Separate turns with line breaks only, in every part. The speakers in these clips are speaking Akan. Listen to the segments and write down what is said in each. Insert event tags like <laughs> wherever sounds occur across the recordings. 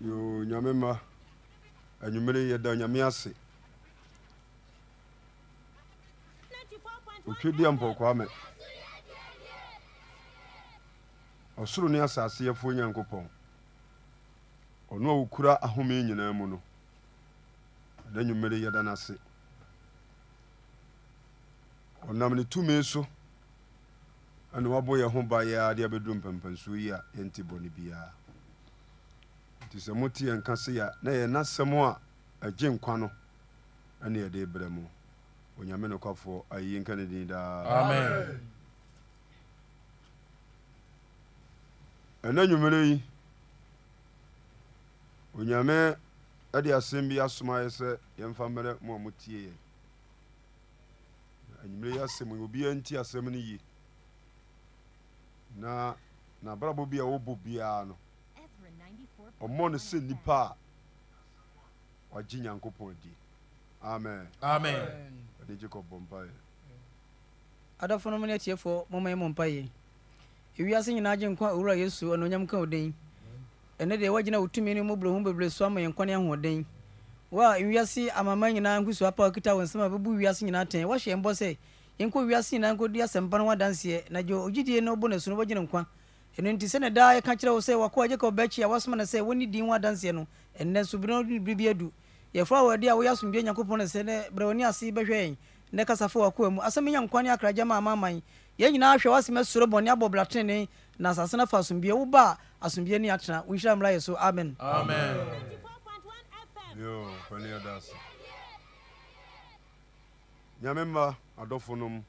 yo nyame ma anwummere yɛda nyame ase otwadiɛ mpɔkwaa me ɔsoro ne asase yɛfoɔ nyankopɔn ɔno a wokura ahome nyinaa mu no ɛda nwummere yɛda no ase ɔnam ne tumi so ɛne woabɔ yɛ ho ba yɛa de abɛduru mpampansuo yi a yɛnte bɔne biara nti sɛ mote yɛn nka se a na yɛna sɛm a agye nkwa no ɛne yɛde brɛ mu onyame nokwafoɔ ayi nka ne din
Ah.
daa
Amen.
ɛna nwumere yi onyame ɛde asɛm bi asoma yɛ sɛ yɛmfa mmerɛ mo a motie yɛ anwumere yi asɛm yi obiaa nti asɛm no yie na nabrabɔ bi a wɔbɔ biara no ɔmmɔ no sɛ nnipa a wagye nyankopɔn adi amen
Amen.
ɛne gye kɔbɔ mpaeɛ
adɔfo no mo ne atiefoɔ moma yɛ mo mpa yɛ ewiase nyinaa gye nkwa owura yesu anuonyam ka wo den ɛnɛ deɛ woagyina wo tumi ne mmɔborɔhu bebree so ama yɛn nkwa ne ahoɔden wo a wiase amama nyinaa nkosu apa a okita wo nsɛm a bɛbu wiase nyinaa tɛn woahyɛ yɛn bɔ sɛ yɛnkɔ wiase nyinaa nkɔdi asɛmpa no ho adanseɛ na gye ogyidie no wobɔ n'asu no wobɛgye no nkwa ɛno nti sɛ ne daa yɛka kyerɛ wo sɛ wakoa gye ka wobɛkyi a woasoma no sɛ wonni din ho adanseɛ no ɛnnɛ so bere no ne biribi adu yɛfrɛ wo ade a woyɛ asomdwe nyankopɔn no sɛ nɛ brɛ w'ani ase bɛhwɛ yɛn nɛ kasafo wakoa mu asɛm nya nkwa ne akragya ma amaman yɛn nyinaa hwɛ woasɛm asuro bɔne abɔ bratene na asase no afa asomdwie woba a asomdwie ne atena wonhyira mmara yɛ so amen
Amen.
yo kwane yɛda ase nyame mma adɔfo nom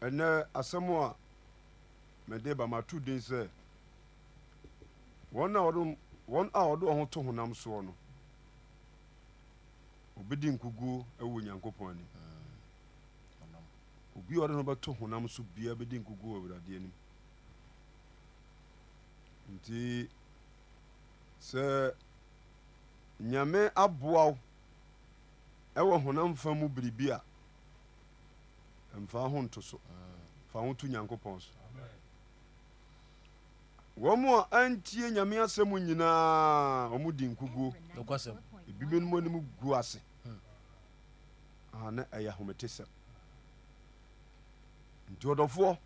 ɛnɛ asɛm a mede ba mato din sɛ wɔn a wɔde wɔn a wɔde wɔn ho to honam soɔ no obɛdi nkuguo ɛwɔ nyankopɔn anim obi a ɔde no bɛto honam so biara bɛdi nkuguo wɔ awurade anim nti sɛ nyame aboa wo ɛwɔ honam fa mu biribi a mfa ho nto so fa ho to nyankopɔn so wɔn mu a antie nyame asɛm nyinaa wɔn di nkuguo
Nokwasɛm.
ebinom anim gu ase Ah, na ɛyɛ ahometesɛm nti ɔdɔfoɔ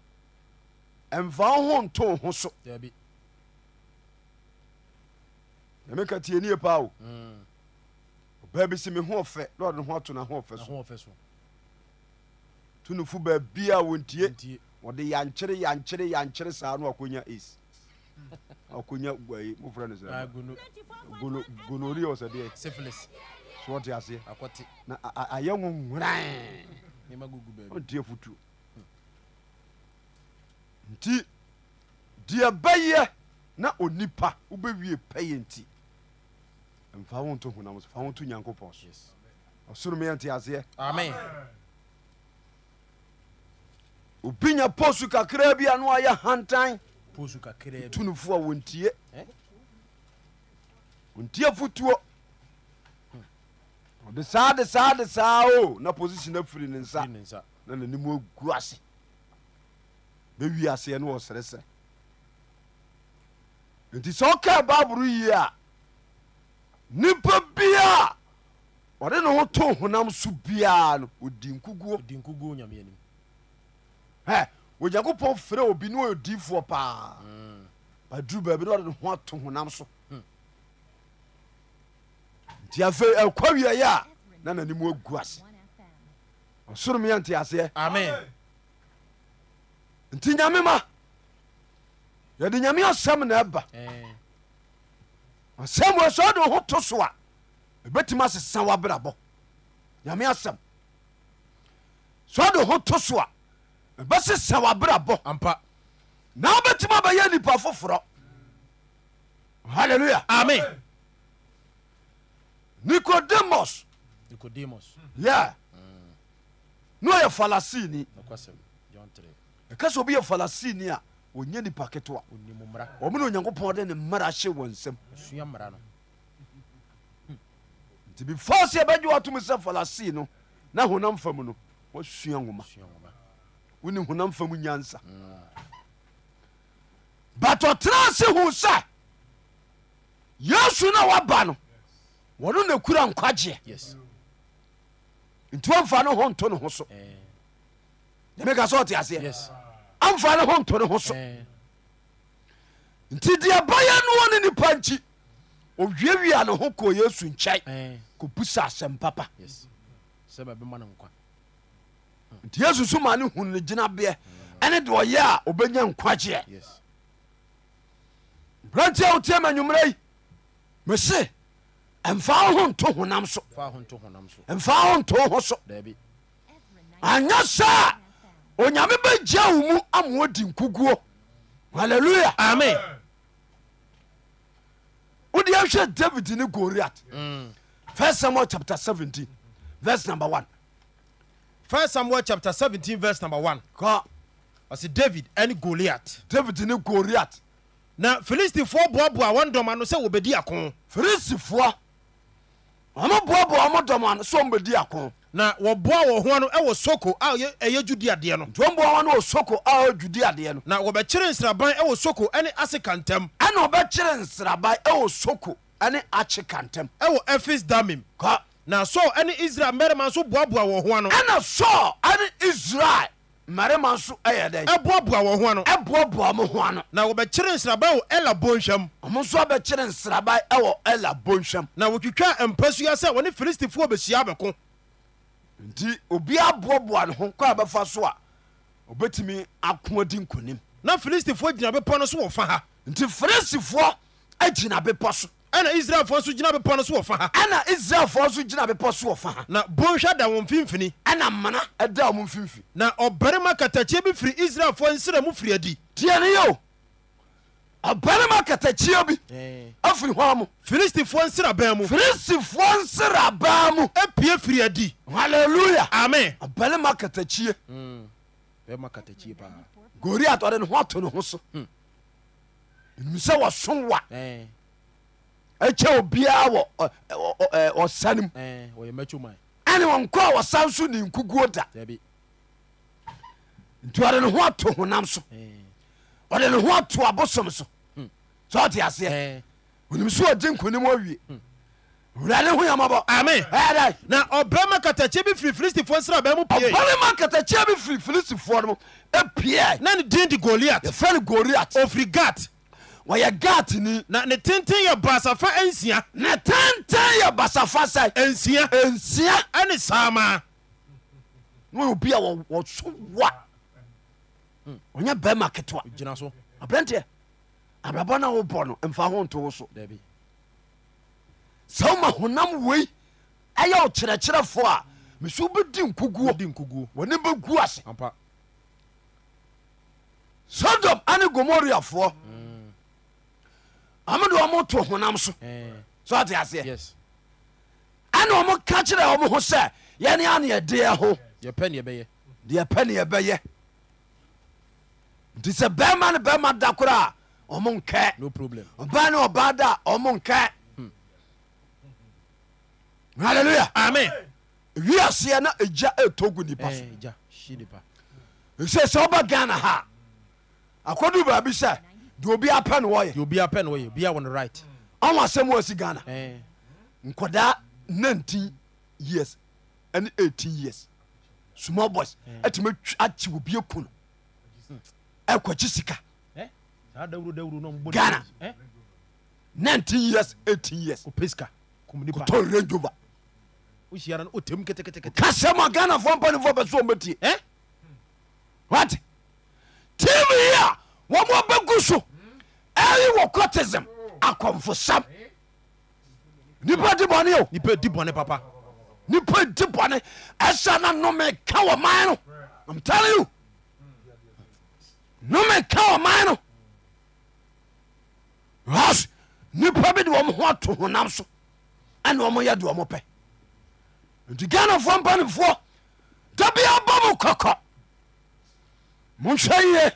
ɛmfa wo ho nto wo ho so
Dabi.
ɛmeka tienie paa o
Mm.
ɔbaa bi sɛ me ho ɔfɛ na ɔde ne ho ato ne ho ɔfɛ so
Na ho ɔfɛ so.
to no fo baabia a wɔntie
Ntie.
ɔde yankyere yankyere yankyere saa na wakɔnya as wakɔnya guaye mofrɛ no
Na
sɛ
gono.
gonoria ɔsɛdeɛ
Syphilis.
so ɔte aseɛ
Akɔte.
na a- a- ayɛ wo hwran
Nneɛma gugu baabi.
ɔntie fotuo nti deɛ bɛyɛ na onipa wobɛwie pɛyɛ nti mfa wo nto honam so fa wo nto nyankopɔn so
Yes.
ɔsoro meyɛnte aseɛ
Amen.
obi nya posu kakraa bi a na wayɛ hantan
Poosu kakraa bi.
tunufo a wɔntie
Ɛ?
wɔntie fotuo ɔde saa de saa de saa o na position afiri ne nsa
Firi ne nsa.
na n'anim agu ase bɛwie aseɛ no wɔseresɛ nti sɛ ɔkaa bible yie a nipa bia a ɔde ne ho to honam so biara no ɔdi nkuguo
Ɔdi nkuguo Nyame anim.
Hɛ, onyankopɔn frɛ obi ne ɔyɛ diifoɔ paa
Mm.
aduru baabi na ɔde ne ho ato honam so nti afei ɛkwa wieɛ a na n'anim agu ase ɔsoro meyɛnte aseɛ
Amen.
nti nyame ma yɛde nyame asɛm na ɛba
Ɛɛ.
asɛm wɔ sɛ ɔde wo ho to so a ɛbɛtumi asesa w'abrabɔ nyame asɛm sɛ ɔde wo ho to so a ɛbɛsesa w'abrabɔ
Ampa.
na wobɛtumi abɛyɛ nipa foforɔ halleluya
Amen.
nikodemos
Nicodemus.
yɛ ne ɔyɛ farisini
Nokwasɛm. John three.
ɛka sɛ obi yɛ farisini a ɔnya nipa ketewa
Onim mmara.
ɔmo ne onyankopɔn de ne mmara hye wɔ nsɛm
Osua mmara no.
nti before sɛ yɛbɛgye watom sɛ farisii no na honam fam no wasua nwoma
Osua nwoma.
wone honam fam nyansa but ɔtena ase hu sɛ yesu no a waba no wɔno na kura nkwagyeɛ
yes
nti wɔmfa ne ho nto ne ho so
Eh,
meka sɛ ɔte aseɛ
yes
amfa ne ho nto ne ho so
Eh,
nti deɛ bayɛ no wɔ ne nipa nkyi owiawia ne ho kɔɔ yesu nkyɛe
eh,
kɔpusa asɛm papa
yes sɛ bɛbɛma no nkwa
nti yesu so ma ne hu no gyinabeɛ
Mm.
ɛne de ɔyɛ a obɛnya nkwagyeɛ
yes
berantia wotie ma nwummerɛ yi mese ɛmfa wo ho nto honam so
fa ho nto honam so
ɛmfa wo nto wo ho so
daabi
anyɛ saa a onyame bɛgya wo mu ama wodi nkuguo halleluya ame wode ahwɛ david ne goriat
Mm.
fis samuel chapter 17 vers number 1
first samuel chapter 17 verse number 1
ka
ɔse david ɛne goliat
david ne goriat
na filistifoɔ boaboa wɔn dɔm ano sɛ wɔbɛdi ako
filistifoɔ ɔmo boaboa ɔmo dɔm ano sɛ ɔmbɛdi ako
na wɔboa wɔ ho ano ɛwɔ soko a ɛyɛ- ɛyɛ judeadeɛ no
nti ɔmboa wɔne ɔsoko a ɔdwudi adeɛ no
na wɔbɛkyere nsraban ɛwɔ soko ɛne aseka ntam
ɛna ɔbɛkyere nsraban ɛwɔ soko ɛne akye kantam
ɛwɔ ɛfis damim
ka
na saul ɛne israel mmarima nso boaboa wɔ ho ano
ɛna saul ɛne israel mmarima nso ɛyɛ dɛn
ɛboaboa wɔ ho ano
ɛboaboa mo ho ano
na wɔbɛkyere nsraban wɔ ɛla bonhwam
ɔmo nso abɛkyere nsraban ɛwɔ ɛla bonhwam
na wɔtwitwaa mpasua sɛ wɔne filistifoɔ bɛhyia bɛko
nti obiaa boaboa ne ho kɔ a bɛfa so a obɛtumi ako adi nkonim
na filistifoɔ gyina bepɔ no so wɔ fa ha
nti ferisifoɔ agyina bepɔ so
ɛna israelfoɔ nso gyina bepɔ no so wɔ fa ha
ɛna israelfoɔ nso gyina bepɔ so wɔ fa ha
na bonhwa da wɔn mfimfini
ɛna mmana ɛda ɔmo mfimfi
na ɔbarima katakyeɛ bi firi israelfoɔ nsira mu firi adi
deɛ ne yɛ o ɔbarima katakyia bi afiri hɔ mo
filistifoɔ nsira bɛn mu
ferisifoɔ nsera baa mu
apue firi adi
halleluya
amen
ɔbarima katakyie
bɛma Hmm. katakyie paa Hmm.
goriat ɔde ne ho ato ne ho so nim sɛ wɔso wa ɛkyɛ obiaa wɔ ɔsa no mu
wɔyɛ mɛtwo man
ɛne ɔnkɔ a wɔsa nso ne nkuguo da
dabi
nti ɔde ne ho ato honam so ɔde ne ho ato abosom so
Hmm.
sɛ ɔte aseɛ onim sɛ ɔgye nkonim awie
Hmm.
wurade ho yamabɔ
Amen.
ɛda
na ɔbarima katakyɛ bi firi filistifoɔ nsira bɛn mu pue
ɔbarima katakyia bi firi filistifoɔ no mu ɛpie
na ne din de goliat
yɛfrɛ no goriat
ofiri gat
wɔyɛ gatni
na ne tenten yɛ baasafa ansia
ne tenten yɛ basafa sɛ
ansia
ɛnsia
ɛne saamaa
na ɔyɛ obi a wɔ- wɔso wa ɔnyɛ bɛrima ketewa
gyina so
aberanteɛ abrabɔ no a wobɔ no mfa ho nto wo so
dabi
sɛ woma honam wei ɛyɛ wo kyerɛkyerɛfoɔ a meso wobɛdi nkoguo
di nkuguo
wɔne bɛgu ase
ampa
sodom ane gomoriafoɔ
Hmm.
ɔmode ɔmo to honam so so ate aseɛ
yes
ɛne ɔmo ka kyerɛ ɔmo ho sɛ yɛne ane yɛdeɛ ho
yɛpɛ ne yɛbɛyɛ
deɛ pɛ ne yɛbɛyɛ nti sɛ bɛrima ne bɛrima da kora a ɔmo nkɛ
no problem
ɔbaa ne ɔbaa da a ɔmo nkɛ halleluya
amen
wiaseɛ na agya ɛtɔ gu nipa so
gya hyi nipa
ɛsɛ sɛ woba ghana ha a, akɔdu baabi sɛ deɛ obi apɛ ne wɔyɛ
deɛ obiaa pɛ no wɔyɛ obiaa wɔ no right
ɔwɔ asɛm wɔasi ghana
Eh,
nkɔdaa 19 years ɛne 18 years small boys atumi akyi obi aku no ɛkɔkyi sika
eh, saa dawuro dawuro na ɔmo bɔ
Ghana.
ne- eh,
19 years 18 years
kɔpɛ sika kom nipa
tɔ range over
wohyia no na ɔtam ketekete
kasɛm a ghanafoɔ mpanifoɔ pɛ so ɔmbɛtie wat tv yi a wɔmɔ bɛgu so ɛyi wɔ cotism akɔmfosam nipa di bɔne o
nipa di bɔne papa
nipa di bɔne ɛsɛ na nome ka wɔ man no I'm telling you nome ka wɔ man no as nipa bi de wɔm ho ato honam so ɛne ɔmoyɛ de ɔmo pɛ nti ghanafoɔ mpanifoɔ da bia bɔ mo kɔkɔ monhwɛ yie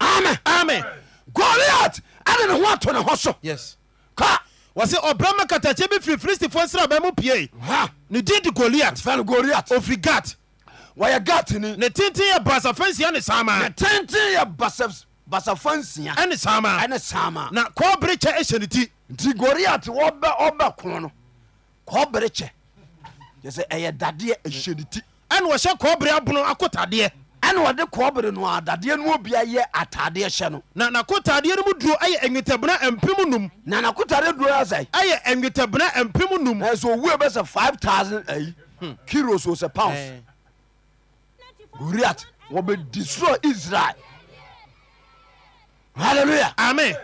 amen
amen
goliat ɛne ne ho ato ne ho so
yes
ka
wɔse ɔbrɛma katakyɛ bi firi filistifoɔ nsira bɛn mu pue
ha
ne din de goliat
fɛno goliat
ofiri gat
wɔyɛ gatni
ne tenten yɛ baasafa ansia ne saamaa
tenten yɛ basaf basafa nsia
ɛne saa maa
ɛne saama
na kɔbere kyɛ ɛhyɛ ne ti
nti goriat wɔbɛ ɔbɛ kono no kɔbere kyɛ kyɛ sɛ ɛyɛ dadeɛ ɛhyɛ ne ti
ɛne wɔhyɛ kɔbere abono akotadeɛ
ɛne wɔde kɔbere no a dadeɛ no obia yɛ atadeɛ hyɛ no
na nakotadeɛ no mu duro ɛyɛ anwetɛbena mpem num
na nakotare duro asɛe
ɛyɛ anwetɛbena mpem num
na sɛ owue bɛ sɛ 5000 ayi kilos o sɛ pounds goriat wɔbɛdi soro israel halleluya
amen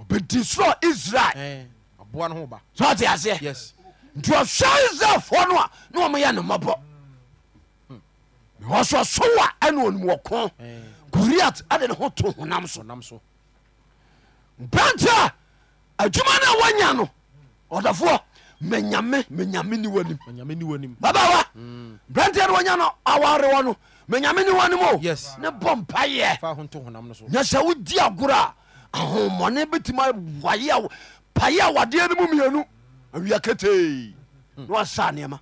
ɔbɛdi soro israel
aboa no ho ba
so ate aseɛ
Eh. yes
nti ɔsɛ israelfoɔ no a na ɔmoyɛ ne mmɔbɔ
Hmm.
ɔso ɔsowa ɛne ɔnum wɔko
Eh.
goriat ade ne ho to honam so
nam so
branta adwuma no a wanya no ɔdafoɔ menyame menyame ni wanim
onyame ni wanim Mm.
babawa brantiɛ no wanya no awarewɔ no menyame ne wanim o
Yes.
ne bɔ mpayɛ
fa ho nto honam no so
nya sɛ wodi agorɔ a ahommɔne bɛtumi waye paye awadeɛ no mu mmienu awia ketee na wasa nneɛma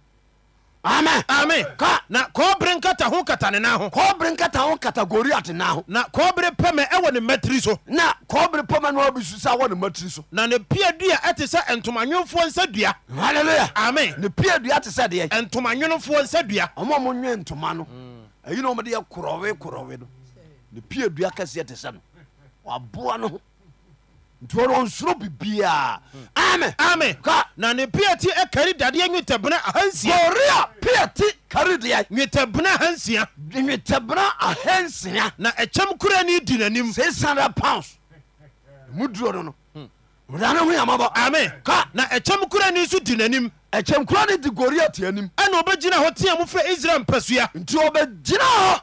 amen
Mm. amen
ka
na kɔbere nkata ho kata ne nan ho
kɔbere nkata ho kategori atena ho
na kɔbere pɛmɛ ɛwɔ ne mmatiri so
na kɔbere pɔma no wabi su sɛ wɔ ne matiri so
na ne pia dua ɛte sɛ ntomanwomfoɔ nsa dua
halleluya
amen
ne pia dua te sɛ deɛ
ntomanwonfoɔ nsa dua
ɔma mo nwe ntoma no ayi na ɔmde yɛ korɔwe korɔwe no ne pia dua kɛseɛ te sɛ no waboa no ho nti ɔno ɔnsoro bibiaa amen
amen
ka
na ne pia ti ɛkari dadeɛ nwetɛbena ahansia
korea pia te kare deɛ
nwetɛbena ahansia
nwetɛbena ahansia
na ɛkyɛm kura ni di n'anim
600 pounds mu duro no no wodane ho yamabɔ
amen
ka
na ɛkyɛm kura ni nso di n'anim
ɛkyɛm kora no di goriat anim
ɛna obɛgyina hɔ teɛ mu fɛ israel mpasua
nti ɔbɛgyina hɔ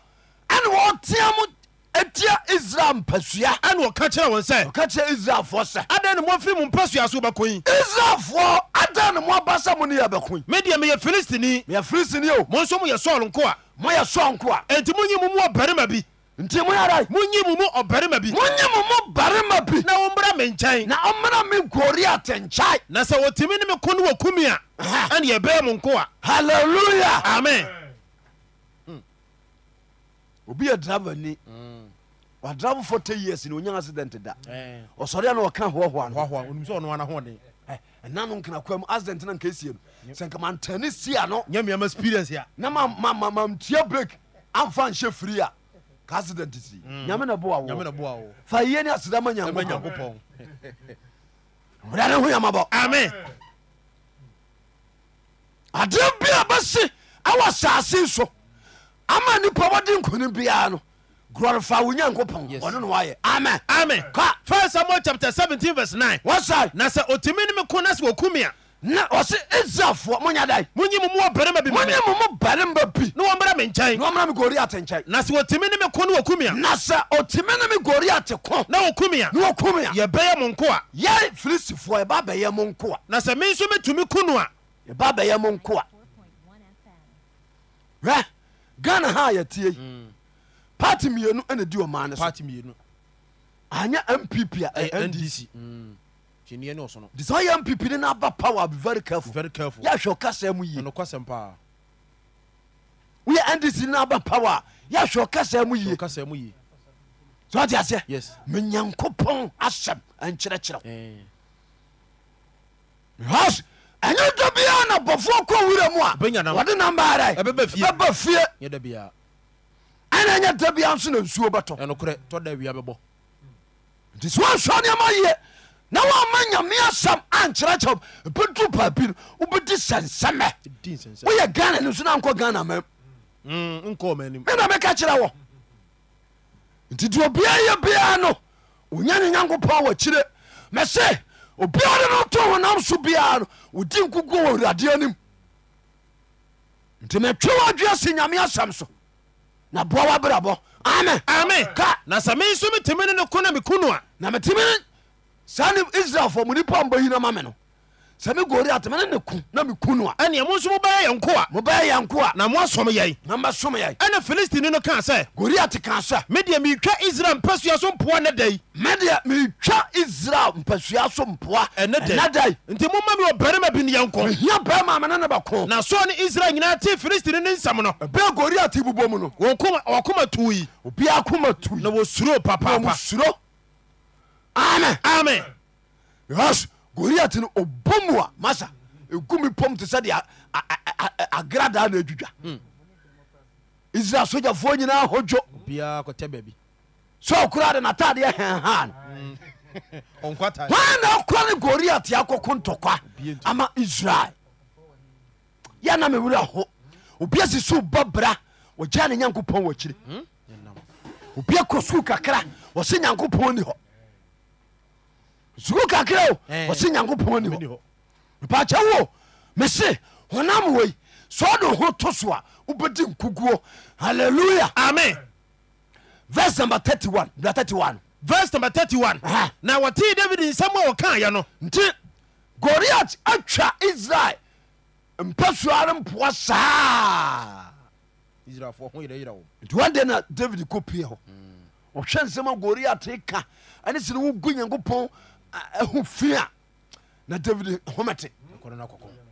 ɛne wɔtea mo atia israel mpasua
ɛna ɔka kyerɛ wɔn sɛ
ɔka kyerɛ israelfoɔ sɛ
adan ne mɔfiri mu mpasua so bɛkɔ yi
israelfoɔ ada ne mo aba sɛ mo ne yɛbɛko
me deɛ meyɛ filistini
meyɛ filistini o
mo nso moyɛ sɔɔl nko a
moyɛ sɔnko a
enti monyi mu mu ɔbarima bi
nti moyɛda
monyi mu mu ɔbarima bi
monye mo mo barima bi
na wommra me nkyɛn
na ɔmena me goriat nkyae
na sɛ wɔtumi ne me ko no wɔ kumi a
Aha.
ɛne yɛbɛɛ mo nko a
halleluya
amen
obi yɛ drava ni Mm. wadravo fo te years ni onya accident da ɔsɔre a na wɔka hoahoa no Ɛ, ɛna no nkena kwa mu accident na nka sie no sɛ nka mantane sia no
nyɛ miama experience a
na ma- ma- ma- mantua break amfa nhyɛ firi a ka accident si Mm. nyame na boa wo fa yie ne aseda ma nyankopɔn wura ne ho yamabɔ
amen
adeɛ bia bɛse awɔ asase so ama nnipa wɔde nkoni biara no glorifa wo nyankopɔn
Yes.
ɔne no wayɛ amen
amen
Ka.
first samuel chapter 17 verse 9
wasae
na sɛ ɔtumi ne me ko no sɛ wɔkumi a
na ɔse israelfoɔ monyɛ dae
monyi mu mu ɔbarima bi ma me
monyɛ mo mo barima bi
na wɔmmra me nkyɛn
na ɔmana me goriat nkyɛn
na sɛ wɔtumi ne me ko no wɔkumi a
na sɛ ɔtumi ne me goriat ko
na wɔkumi a
na wɔkum a
yɛbɛyɛ mo nko a
yɛ filistifoɔ yɛba bɛyɛ mo nkoa
na sɛ me nso metumi ko no a
yɛba bɛyɛ mo nkoa hwɛ ghana ha yɛtie yi
Mm.
party mmienu ɛna di ɔman no so anyɛ mpp a ɛyɛ nd nti sɛ ɔyɛ mpp ne no aba power I'll be very careful yɛahwɛ ɔkasa mu yie woyɛ ndc ne no aba power a yɛahwɛ ɔkasa mu yie so ɔte aseɛ menyankopɔn asɛm ɛnkyerɛkyerɛw because ɛnyɛ dɔ biara na bɔfoɔ kɔ wura mu
Ɔbɛnya
a
nam.
wɔde namba ara
Ɛbɛba fie.
bɛba fie ɛna ɛnyɛ da biara nso na nsuo bɛtɔ nti sɛ woansua nneɛma yie na woama nyame asɛm ankyerɛ kyɛw bɛdu baabi no wobɛdi sɛnsɛmɛ woyɛ ghana no nso na nkɔ ghana mam
Mm,
mena meka kyerɛ wɔ nti deɛ obiaa yɛ biara no onya ne nyankopɔn wɔ kyire mɛse obiaa de no to honam so biara no wodi nkuku wɔ awurade anim nti metwe wɔadwe asi nyame asɛm so na boa wabrabɔ amen
amen
ka
na sɛ me nso metumi ne ne ko na meku no a
na metimi saa ne israelfoɔ mu nipa mbɔ hina ma me no sɛ me goriat mene ne ku na meku no a
ɛneɛ mo nso mobɛyɛ yɛ nkoa
mobɛyɛ yɛ nko a
na moasom yɛn
na mɛsom yɛ
ɛne filistini no kaa sɛ
goriat ka sɛ
medeɛ meretwa israel mpasua so mpoa nɛ dai
medeɛ meretwa israel mpasua so mpoa
Ɛnnɛ da yi.
dai
nti moma me ɔbarima bi ne yɛnkɔ
hia bɛma mene ne bɛko
na soɔ ne israel nyinaa te filistini no nsɛm no
ɛbɛɛ goriat bobɔ mu no
wɔn koma- wɔkoma too yi
obiaa koma tu
na wɔsuro papaapa
musuro ame
amen
because goriat no ɔbɔ mu a masa ɛgu me pom te sɛ de a- a- a- a- a- agradaa na
Hmm.
adwudwa israel sogyafoɔ nyinaa hɔ dwo
biaa kɔtɛ baabi
sɛ ɔkora de natadeɛ hɛhaa no
ɔnkwata
hwan na ɔkora ne goriat akɔko ntɔkwa
Obie nti.
ama israel yɛna mewerɛ ho obia si so bɔ bra ɔgya ne nyankopɔn wɔkyiri obia kɔ sukuu kakra ɔse nyankopɔn ni hɔ sukuu kakra o
Eh.
ɔse nyankopɔn ni hɔ mpakyɛ wo mese honam wei sɛ ɔde ho to so a wobɛdi nkuguo halleluya
amen
vers number 31 bra 31
verse number 31
Aha.
na wɔtee david nsɛm a wɔkaeɛ no
nti goriat atwa israel mpasua no mpoa saa nti one day na david kɔ pie hɔ ɔhwɛ nsɛm a goriat ka ɛne sɛ ne wogu nyankopɔn a- aho fi a na david homete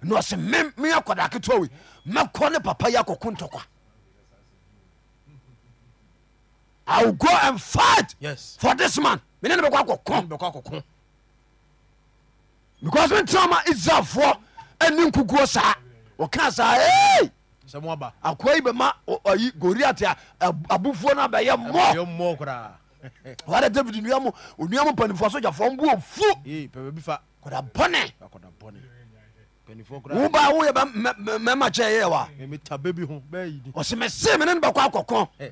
na ɔse me me akɔda ketewa wei mɛkɔ ne papa yi akɔko ntɔkwa i will go and fight
yes
for this man mene ne bɛkɔ akɔko
bɛkɔ
because metena ma israelfoɔ ani nkukuo saa wɔka saa "Hey,
akɔko
akoa yi bɛma ɔ- ɔyi goriat a ab- abufuo no abɛyɛ mmɔ
sɛmoaba koraa <laughs>
wada david nuamo onuamo panifoɔ sogyafoɔ mbu ofu
pɛbɛbi fa
kɔda bɔne
akɔda bɔne panifɔ
woba woyɛ mɛma kyɛ yɛɛ wa
mɛmeta bɛbi ho bɛyidi
ɔse mese mene ne bɛkɔ akɔko
Eh.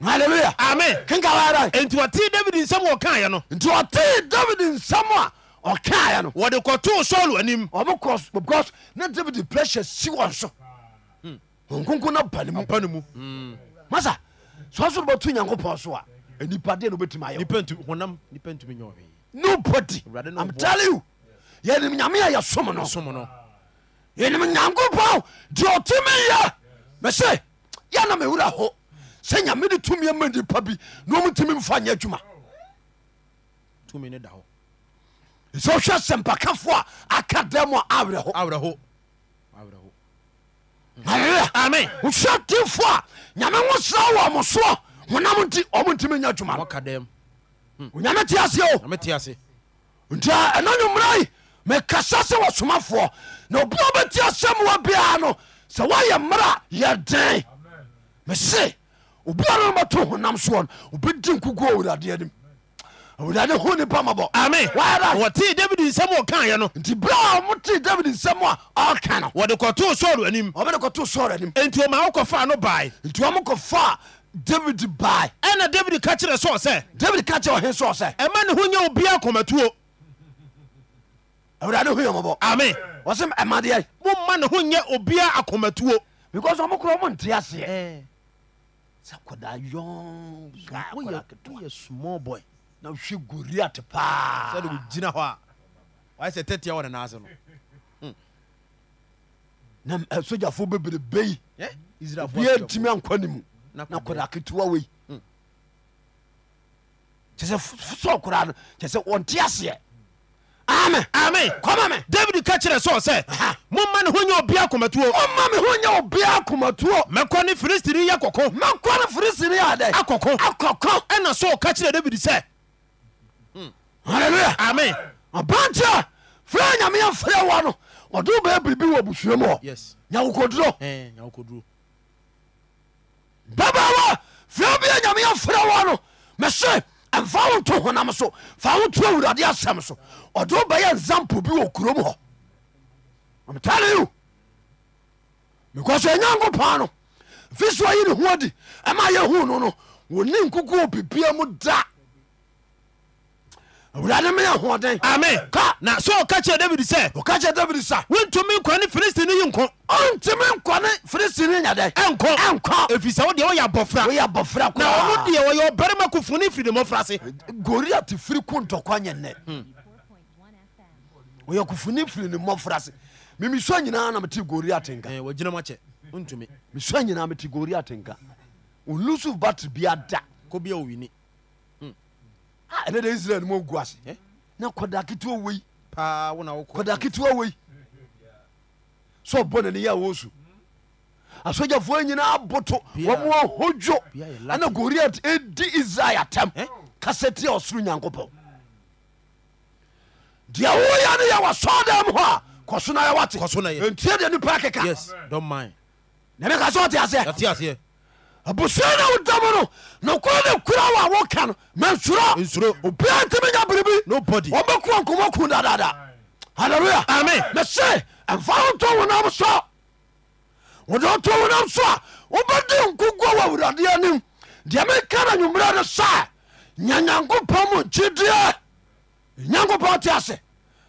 halleluya
amen Eh.
kenka wada
enti wɔtee david nsɛm a wɔkaeɛ no
nti ɔtee david nsɛm a ɔkaeɛ no
wɔde kɔtoo saulo anim
ɔmo kɔ s- because na david pressure si wɔn so nkonko na bane mu Hmm.
pa no Hmm. mu
masa sɛ so no bɛto nyankopɔn so a nipadeɛ na wobɛtumi ayɛ
nipa ntu honam nipa ntumi nyɛ hwee
nobody
Awurade na
am
ɔboa.
telling you yɛnim nyame a yɛsom no
som Ah, no
yɛnim nyankopɔn deɛ ɔtumi yɛ me se yɛna mewura ho sɛ nyame de tumi ama nnipa bi na ɔmutumi mfa nyɛ adwuma
tumi ne da hɔ
sɛ wohwɛ sɛmpakafoɔ a aka da mu a awerɛ ho
awerɛho awerɛho
amen wohwɛ tifo a nyame wo sra wɔ mo soɔ honam nti ɔmo ntimi nya adwuma no
wɔka dɛm
onyame te aseɛ o
na mete ase
nti a, ɛna nwummerai mekasa sɛ wɔsomafoɔ na obi a wobɛti asɛm wɔ biaa no sɛ woayɛ mmara a, yɛ den mese obiara no bɛto honam soɔ no obɛdi nkukuo awuradeɛ nim awurade ho nipa mabɔ
amen
Wayɛ dɛn?
wɔtee david nsɛm a wɔkaeɛ no
nti berɛ a motee david nsɛm a ɔka no
wɔde kɔtoo saulo anim
ɔbɛde kɔto sɔre anim
enti ɔma wokɔfaa no bae
nti ɔmokɔfaa david bae
ɛna david ka kyerɛ saul sɛ
david ka kyɛ ɔhe sɔɔ sɛ
ɛma ne ho nyɛ obia kɔmatuo
awurade ho yɛ mabɔ
amen
ɔsɛ ɛmadeɛ
momma ne ho nyɛ obia akɔmatuo
because ɔmo korɔ ɔmo nte aseɛ sɛ kɔda yɔn guy, kɔdaa ketewa.
small boy Ah.
na hwɛ goriat paa
sɛde wogyina hɔ a wayɛ sɛ tɛtia wɔ ne naase no
na m- ɛ, sogyafoɔ bebrebe yi
Ɛ?
bia ntimi ankwa ne mu
Na
na kɔda ketewa wei
Mm.
kyɛ sɛ f- f- sɛ koraa no kyɛ sɛ ɔnte aseɛ ame
Amen.
kɔma me
david ka kyerɛ saul sɛ
Aha.
momma ne ho nyɛ obia kɔmatuo
ɔma me ho nyɛ obia akomatuo
mɛkɔ ne filistini yɛ kɔkɔ
mɛkɔ no firisini adɛ
akɔkɔ
akɔkɔ
ɛna saul ka kyerɛ david sɛ
halleluya
amen
abantia frɛ nyame yɛmfrɛ wɔ no ɔde wo bɛɛ biribi wɔ abusua mu hɔ
yes
nyawokoduro
nyawokoduro
babawa fia bia nyame yɛmfrɛ wɔ no mese ɛmfa wo nto honam so fa wo to awurade asɛm so ɔde wo bɛyɛ nsampo bi wɔ kurom hɔ mtale yo because ɛnyankopɔn no fi so ayi ne ho adi ɛma yɛhu no no wɔne nkukuo pipia mu da awurade meyɛ hoɔden
amen
ka
na saul ka kyerɛ david sɛ
ɔka kyɛ david sa
wontumi nkɔ ne filistini yi nkɔ
ɔntimi nkɔ ne firistini nyadɛ
Ɛnkɔ.
ɛnkɔ
ɛfiri sɛ wodeɛ woyɛ abɔfra
woyɛ bɔfra
na ɔno deɛ wɔyɛ ɔbarima kofuni firi ne mmɔfra se Hmm.
goriat firi ko ntɔkwa nyɛ nnɛ ɔyɛ kofoni firi ne mmɔfra ase memisua nyinaa na mete goriat nka
ɛɛ wɔgyina mu akyɛ ntumi
mesua nyinaa mete goriat nka olusive battle bia da
ko bia owini
Ah, ɛnɛ de israel no mu agu ase
Eh?
na kɔda ketewa wei
paa wɔn a wɔkɔ
kɔda ketewa wei sɛ ɔbɔ nane yɛ wɔ su asogyafoɔ nyinaa boto
Bia-
wɔmoa hodwo
Bia yɛ Latin.
ana goriat ɛdi israel
Eh?
atɛm kasɛ tia ɔsoro nyankopɔn deɛ woyɛ no yɛwɔ sɔdam hɔ a kɔso na yɛwate
Kɔ so na yɛ.
ɛntie deɛ nipa keka
yes don mind
na meka sɛ wote aseɛ
yate aseɛ
abusua no wodam no nokora ne kura wɔ a woka no mansuro
nsuro
obia ntimi nya biribi
nobody
wɔbɛkua nkɔmɔ ku dadada halleluya
Amen.
na se ɛmfa wotɔ wonam so wode wotɔ wonam so a wobɛde nkogo wɔ awurade anim deɛ meka na nwummerɛ no sa nya nyankopɔn mu nkyideɛ nyankopɔn te ase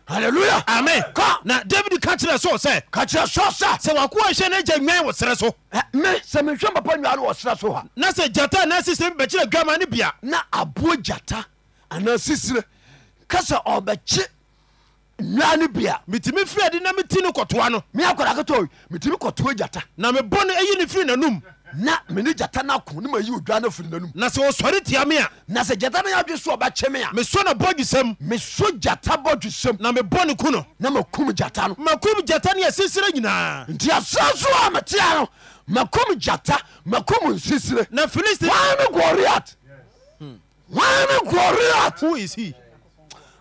halleluya
amen
ka
na david ka kyerɛ sɛ sɛ
ka kyerɛ so sɛ
sɛ wakoa hyɛ no agya nwan wɔ serɛ so
ɛ, me sɛ mehwɛ papa nnwa no wɔ serɛ so ha
na sɛ gyata na sisire bi bɛkyerɛ dwama no bia
na aboa gyata anaa sisire ka sɛ ɔbɛkye nnwa no bia
metumi firi ade na meti no kɔtoa no
me akɔda ketɔ metumi kɔtoa gyata
na mebɔ no ayi no firi n'anom
na mene gyata no ako ne mayi odwa no afiri n'anom
na sɛ ɔsɔre tia me a
na sɛ gyata no yɛadwe so ɔbɛkye me a
mesɔ no bɔdwesɛm
meso gyata bɔ dwesɛm
na mebɔ no ku no
na makum gyata no
makum gyata ne asisire nyinaa
nti asra so a metea no makum gyata makum nsisire
na filistine
wan ne goriat wan ne goriat
who is he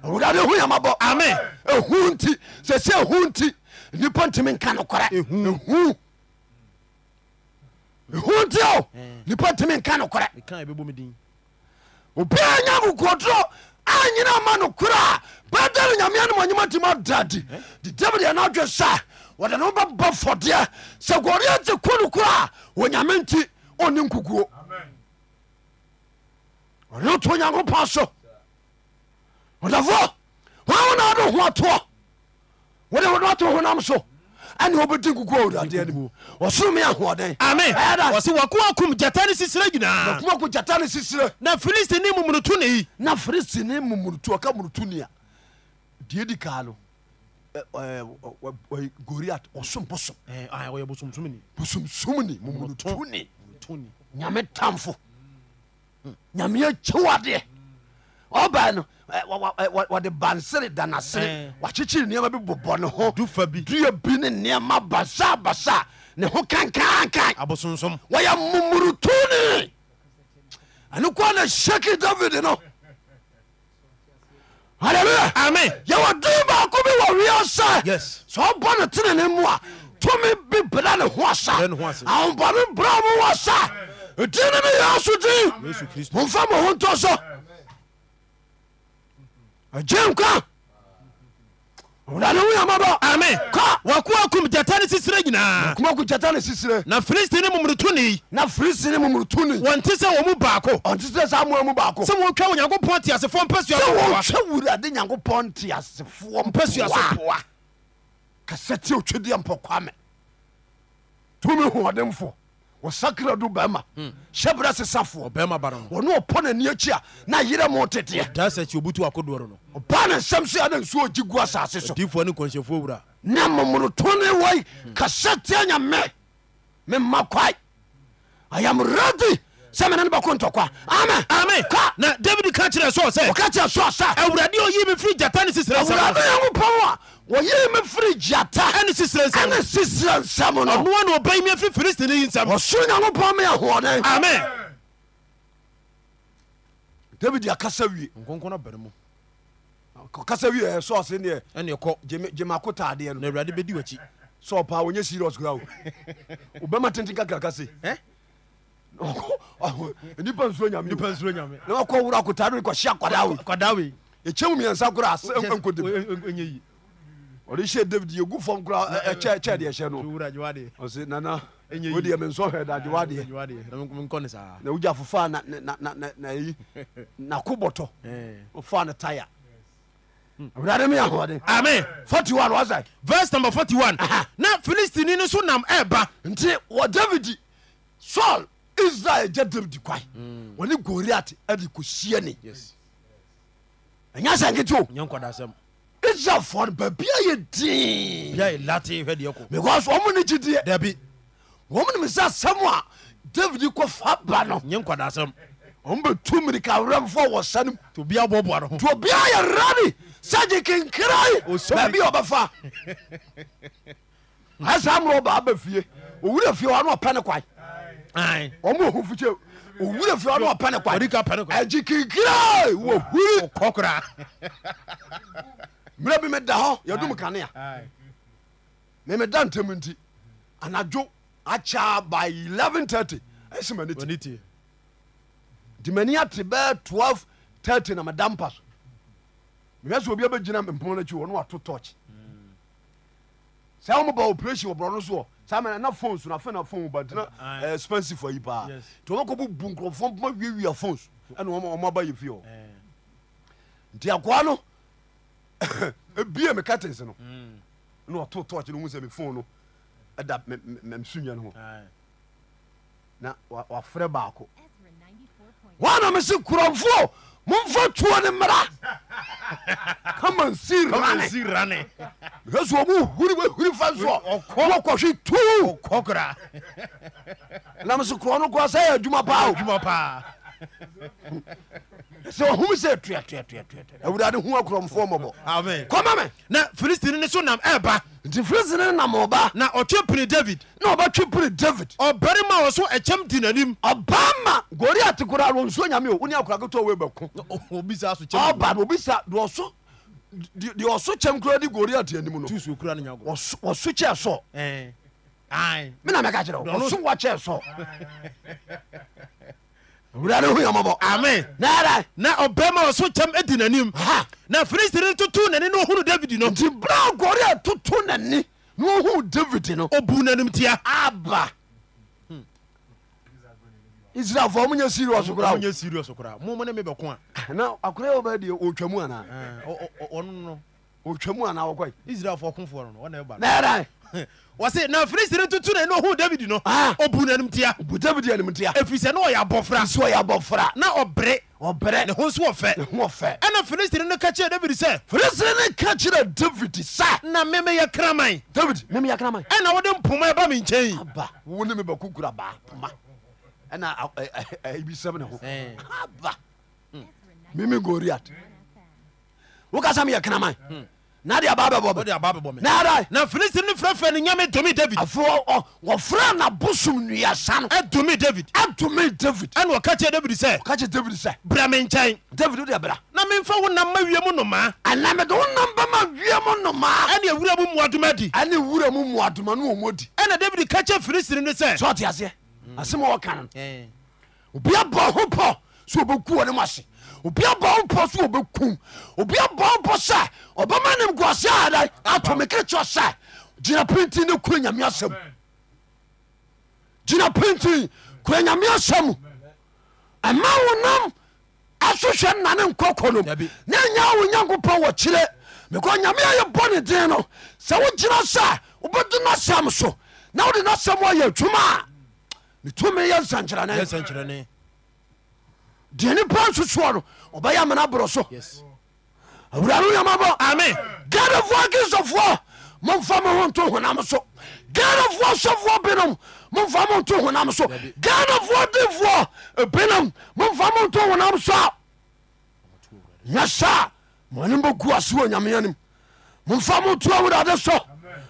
awurade hu yamabɔ
Amen.
ɛhu nti sɛ sɛ ɛhu nti nnipa ntimi nka nokorɛ ɛhu ɛhu nti o nnipa ntimi nka nokorɛ
meka ɛbɛbɔ me din
obiaa nya akokodoro anyina ma no koro a bɛdane nyamea no manyima tim adadi de david ɛno adwe sa wɔde ne wobɛbɔ fɔdeɛ sɛ gɔreɛ te ko no koro a onyame nti ɔne nkukuo ɔne to onyankopɔn so ɔdafoɔ wawo na wode ho atoɔ wode wode wato honam so ɛne wobɛdi nkukuo awuradeɛ nim ɔsoro me ahoɔden
amen
Ɛyɛ dɛn?
ɔse wakoakum gyata ne sisire nyinaa
kuma ko gyata ne sisire
na filistine mumunuto ne yi
na filistine mu murutu ɔka murutu nia deɛ di kaa no ɛ- ɛ, ɔ- ɔ- ɔ- goriat ɔsom bosom
ɔyɛ bosomsomni
bosomsom ni mumurutu ni
toni
nyame tamfo nyame akyiwadeɛ ɔba no ɛ, wa- wa- ɛ, wa- wɔde bansere danasere
Ɛɛ.
wakyekyere nneɛma bi bobɔ ne ho
Du fa bi.
dua bi ne nneɛma basabasa ne ho kankankan
abosonsom
wɔyɛ mumurutuni ɛno kwa na hyɛki david no halleluya
amen
yɛwɔ den baako bi wɔ wiase
Yes.
sɛ ɔbɔ no tene ne mu a tumi bi bra ne ho asa
Bra ne ho ase.
ahombɔne bra mo wɔ sa din no ne yɛ so din
Yesu Kristo.
momfa mo ho ntɔ so agye nkwa owurade wo yamabɔ
amen
Ka.
wakoakum gyata ne sisire nyinaa
kuma ko gyata ne sisire
na filistine mumunuto ne yi
na firisini mumurutuni
wɔnte sɛ wɔ mu baako
ɔnte sɛ saa mmoa mu baako
sɛ wɔtwa onyankopɔn teasefoɔ mpɛ
sɛ
sua
wɔhwɛ wurade nyankopɔn nte asefoɔ
Mpɛ sua so
mpoa kasɛ tie otwedeɛ mpɔkwa me tumi hoɔdenfo wɔsakra do bɛma
Hmm.
hyɛ berɛ sesafoɔ
ɔbɛma ba no
wɔne ɔpɔ n'ani akyi a na yerɛ mo teteɛ
da sɛ kyi obutu akodoɔro no
ɔba ne nsɛm so ada nsuo gyi gu asase so
difoɔ ne nkɔnhyɛfoɔ wura
na momorotone wai
Hmm.
kasɛ tia nyame mema kwae i am ready sɛ mene ne bɛko ntɔkwa amen
amen
ka
na david ka kyerɛ sɛ sɛ
wɔka kyerɛ so asa
awurade a ɔyii me firi gyata ne sisire
awurade
nsɛm
nyankopɔn a wɔyere me firi gyata
ɛne sisire
ɛne
nsɛm
sisira nsɛm no
ɔnoa na ɔbɛn me afiri filistine yi nsɛm
ɔsoro nyankopɔn me ahoɔden
amen
david akasa wie
nkonkɔn abɛre mu
kasa wie ɛ sɔɔse neɛ
ɛne ɛkɔ
gyemako taadeɛ
na
no
awurade bɛdi wakyi
sɛ ɔpaa wɔnyɛ serious kora o
<laughs>
obɛma tenten kakraka se
Ɛ?
nipa nsuro nyame
nsuro nyame
na wakɔ woro akotaa no kɔhye akwadaa o
kwadawe
ɛkyɛwu miɛnsa kora nkɔdem
yi
ɔde hyɛ david yɛgu fam kora ɛkyɛ deɛ ɛhyɛ no ɔse nana
Ɛnyɛ yi.
wodeɛ mensɔ hwɛ dade wadeɛ
nkɔne saa
na wogya fofa na na- na- na- na yi nako bɔtɔ ofa ne taya awurade me ahoɔden
Hmm. amen
41 wasa
verse number 41
Aha.
na filistini no so nam ɛba
nti wɔ david saul israel gya david kwae
Hmm.
wɔne goriat ade kɔsie ne ɛnyɛ sɛ nkete o
nyɛ nkɔdasɛm
israelfoɔ no baabia yɛ din
bia yɛ e late hwɛ deɛ kɔ
because ɔmo ne gyideɛ
dabi
wɔm nim sɛ asɛm a david kɔ fa ba no
nye nkwadasɛm
ɔm bɛtu mirika awerɛmfoɔ wɔ sa no mu
nti obia boaboa no ho
nti obiaa yɛ rane sɛ gye kenkrae
Osɔre.
baabi a ɔbɛfa ɛsaa mmerɛ ɔbaa ba fie owura fie hɔ ne ɔpɛ ne kwae
Ae.
ɔma ɔhu fikye owura fie hɔ ne ɔpɛ ne
Ɔde
kwae
ka pɛ no kɔ
agye kenkrae wɔhuri
kɔ koraa
mmerɛ bi meda hɔ yɛdom kanea memeda ntɛm nti anadwo akyaa by 1130 ɛsɛ mani ti
ɔne tie
nti mani ate bɛɛ 1230 na meda mpa so mehwɛ sɛ obia bɛgyina mpoma no akyi wɔ ne wato torch
Hmm.
sɛ womaba operation wɔ borɔ no so hɔ saa mena na phone so na afei na phone ba tena
Aye.
expensive ayi paa nti
Yes.
ɔmakɔbo bu nkurɔfoɔ mpoma wiawia phones ɛne ɔma aba yɛ fie hɔ
Eh.
nti akoa <coughs> no ebie me curtains no
Hmm.
na ɔto torch no hu sɛ me phone no ɛda me- me- me- msunya no ho na wa- wafrɛ baako
Ezra 94.1.
wana mese kurɔmfoɔ momfa tuo ne mmara kama nsi rane
si rane
hwɛ so ɔmo huri bɛhuri fa soɔ wɔkɔhwe tu
kɔ koraa
na mese kurɔ no koa sɛ yɛ adwuma paa o.
adwuma paa
sɛ ɔhom sɛ tuatuatuatuatu awurade ho akurɔmfoɔ mmɔbɔ
amen
kɔma me
na filistini ne so nam ɛba
nti firisine ne nam ɔba
na ɔtwe pene david
na ɔbɛtwe pere david
ɔbarima wɔ so ɛkyɛm di n'anim
ɔba ma goriat koraa no ɔnsuo nyame o wo ne akora ketewa wei bɛko
obisa so
ɔba no obi sa deɛ ɔso deɛ deɛ ɔso kyɛm koraa de goriat anim no
tusuo kura no nyago
ɔso ɔso kyɛɛ sɔɔ mena mɛka kyerɛ wo,
Ɔno-
ɔso wɔkyɛɛ sɔ wurade ho yamabɔ
amen
nara
na ɔbarima wɔ so kyɛm adi n'anim
ha
na filistini no totoo n'ani na ɔhunu david no
nti bra gɔre a toto nani na ɔhu david no
ɔbu n'anim tia
aba israelfoɔ ɔmonyɛ serious kora
ɔnyɛ serious koraa momo ne mebɛko
na akora wɔbɛdeɛ ɔtwa mu anaa
a ɔno no
ɔtwa mu anaa wɔkɔe
israelfoɔ kofoɔ no no ɔnɛba
nara
wɔse na <laughs> filistini toto n'ani na ɔhunu david no
Ah.
ɔbu n'anim tia
bu david animtia
ɛfiri sɛ na ɔyɛ abɔfra
so ɔyɛ abɔfra
na ɔbere
ɔbrɛ
ne
ne
ho nso ɔfɛ
ho ɔfɛ
ɛna filistini no ka kyerɛɛ david sɛ
firisere ne ka kyerɛ david sa
na memeyɛ kraman
david memeyɛkrama
ɛna wode e mpoma ɛba me nkyɛn
aba wo ne me bɛko kura baa poma ɛna a- ɛ- ɛ- ɛ- ibisɛm ne ho
Ɛn.
aba Hmm. meme goriat wokasa meyɛ kenama na de aba bɛbɔ
wode
bɛ
aba bɛbɔ me
na ada
na filistini no frɛfrɛ no nyame domi david
afei wɔfrɛ na bosom nuasa no
ɛdomi david E
atome david
ɛna ɔka kyerɛɛ david sɛ
ka kyerɛ david sɛ
bra me nkyɛn
david wode bra
na memfa wo nam ma E wie mu nomaa
ɛna mede wo nambama wie mo nomaa
ɛne awura mu mmoadoma adi
ɛne wura mu mmoadoma no ɔmɔ di
ɛna E david e ka kyerɛ filistini no sɛ
sɛ ɔte aseɛ asɛm a wɔka no
Eh,
obia bɔ ho pɔ sɛ obɛku wɔ ne mu ase obia bɔ ho pɔ sɛ obɛkum obia bɔ ho pɔ sɛ ɔbɛma nem guase ada ato me kere kyɛ sɛ gyina penti ne kura nyame asɛm gyina penti kura nyame asɛm ɛma wo nam asohwɛ nna ne nkɔkɔ nom
Dabi.
na ɛnyɛ wo nyankopɔn wɔ kyerɛ mekɔ nyame a yɛbɔ ne den no sɛ wogyina sɛ wobɛdo no asɛm so na wode no asɛm ayɛ adwuma a ne tumi yɛ nsankyerɛne
nkyerɛne
deɛ nipa nsosoɔ no ɔbɛyɛ amena borɔ so
yes
awurade yamabɔ
Amen.
gadafoɔ kristofoɔ momfa mo ho nto honam so gadafoɔ sɔfoɔ binom momfa mo nto honam so gadafoɔ difoɔ binom momfa mo nto honam so a nyɛ saa mɔne bɛku ase wɔ nyame anim momfa mo to awurade so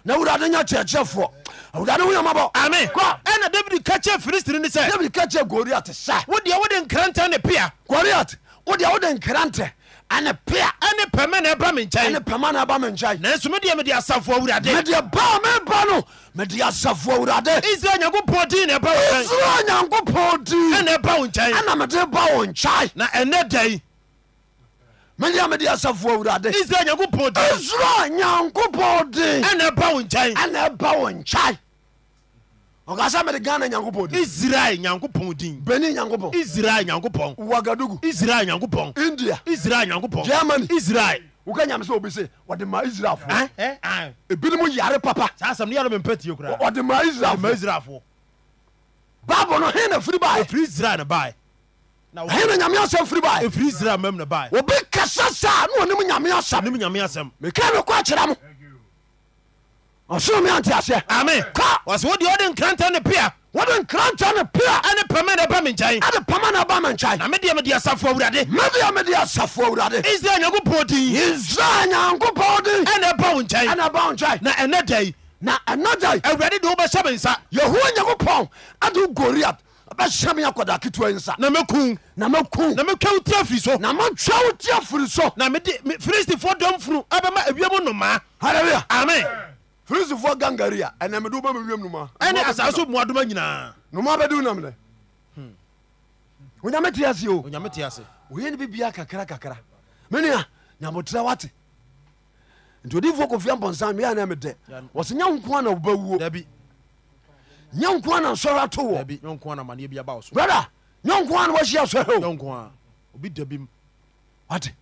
na awurade nya kyerɛkyerɛfoɔ awurade ho yamabɔ
ame
Kɔ.
ɛna E david ka kyerɛ filistini no sɛ
david ka kyerɛ goriat sɛ
wodeɛ wode nkranta ne pea
goriat wodeɛ wode nkrantɛ ane pea
ɛne pɛmɛ na ɛba me
ɛne
nkyɛn
pɛma na ɛba me nkyɛe
nanso medeɛ mede asafo awurade
mede baa meba no mede asafo awurade
israel nyankopɔn din na ɛba wo nkyɛn
israel nyankopɔn din
ɛna ɛba wo nkyɛn
ɛna mede ba wo nkyae
na ɛnɛ dɛn
medeɛ mede asafo awurade E,
israel nyankopɔn din
israel nyankopɔn din
ɛna ɛba wo nkyɛn
ɛna ɛba wo nkyae ɔkasa mede ghana nyankopɔn din
israel nyankopɔn din
beni nyankopɔn
israel nyankopɔn
wagadugu
israel nyankopɔn
india
israel nyankopɔn
germany
israel Eh?
woka nyame sɛ obi se ɔde ma israelfoɔ
Ɛn? Ɛn? Ɛn?
ebinom yare papa
saa asɛm no yɛno mempa tie koraa
ɔde ma
ma
israelfoɔ
israelfoɔ
bible no he na firi baa
ɛfiri israel no baɛ na
ɛhe na nyame asɛm firi baɛ
ɛfiri israel mam na baɛ
obi kasa saa ne ɔnim nyame asɛm
nim nyame asɛm
meka mekɔ akyerɛ mo ɔsoro me ante aseɛ
ame
ka
wɔse wodeɛ wode nkranta ne pea
wode nkranta ne pea
ane pɛma na ɛba me nkyɛn
ade pama na ba me
na
nkyɛn
medeɛ mede asafo awurade
mɛdeɛ mede asafo awurade
israel nyankopɔn din
israel nyankopɔn den
ɛne ɛba wo nkyɛn
ɛna ba wo nkyɛn
na E ɛnɛ dai
na ɛna da
awurade de wobɛhyɛ me nsa
yehowa nyankopɔn ade wo goriat bɛhyɛ me akɔda ketewa yi nsa
na mɛku
na maku
na metwa wo tira firi so
na matwa wo tia firi so
na mede me- filistifoɔ dɔm funu abɛma awiam nnomaa
halleluya
amen
firisifoɔ gangaria ɛnɛ mede woba mewiam noma
ɛne asaa so mmoadoma nyinaa
noma bɛde wo nam dɛ
Hmm.
onyame te aseɛ o
onyame te ase
oyɛ ne bibia kakra kakra menea nyamotrɛ wate nti odifoɔ kofia mpɔnsa meɛ ne medɛ wɔsɛ nya nko ana wobawuo
dabi
nya nko ana nsɔre ato wɔ
dabi yɔnko a namanneɛ bi aba wo so
brada nya nko ana wahyia sɔre o
yɔnko a obi dabi m
wate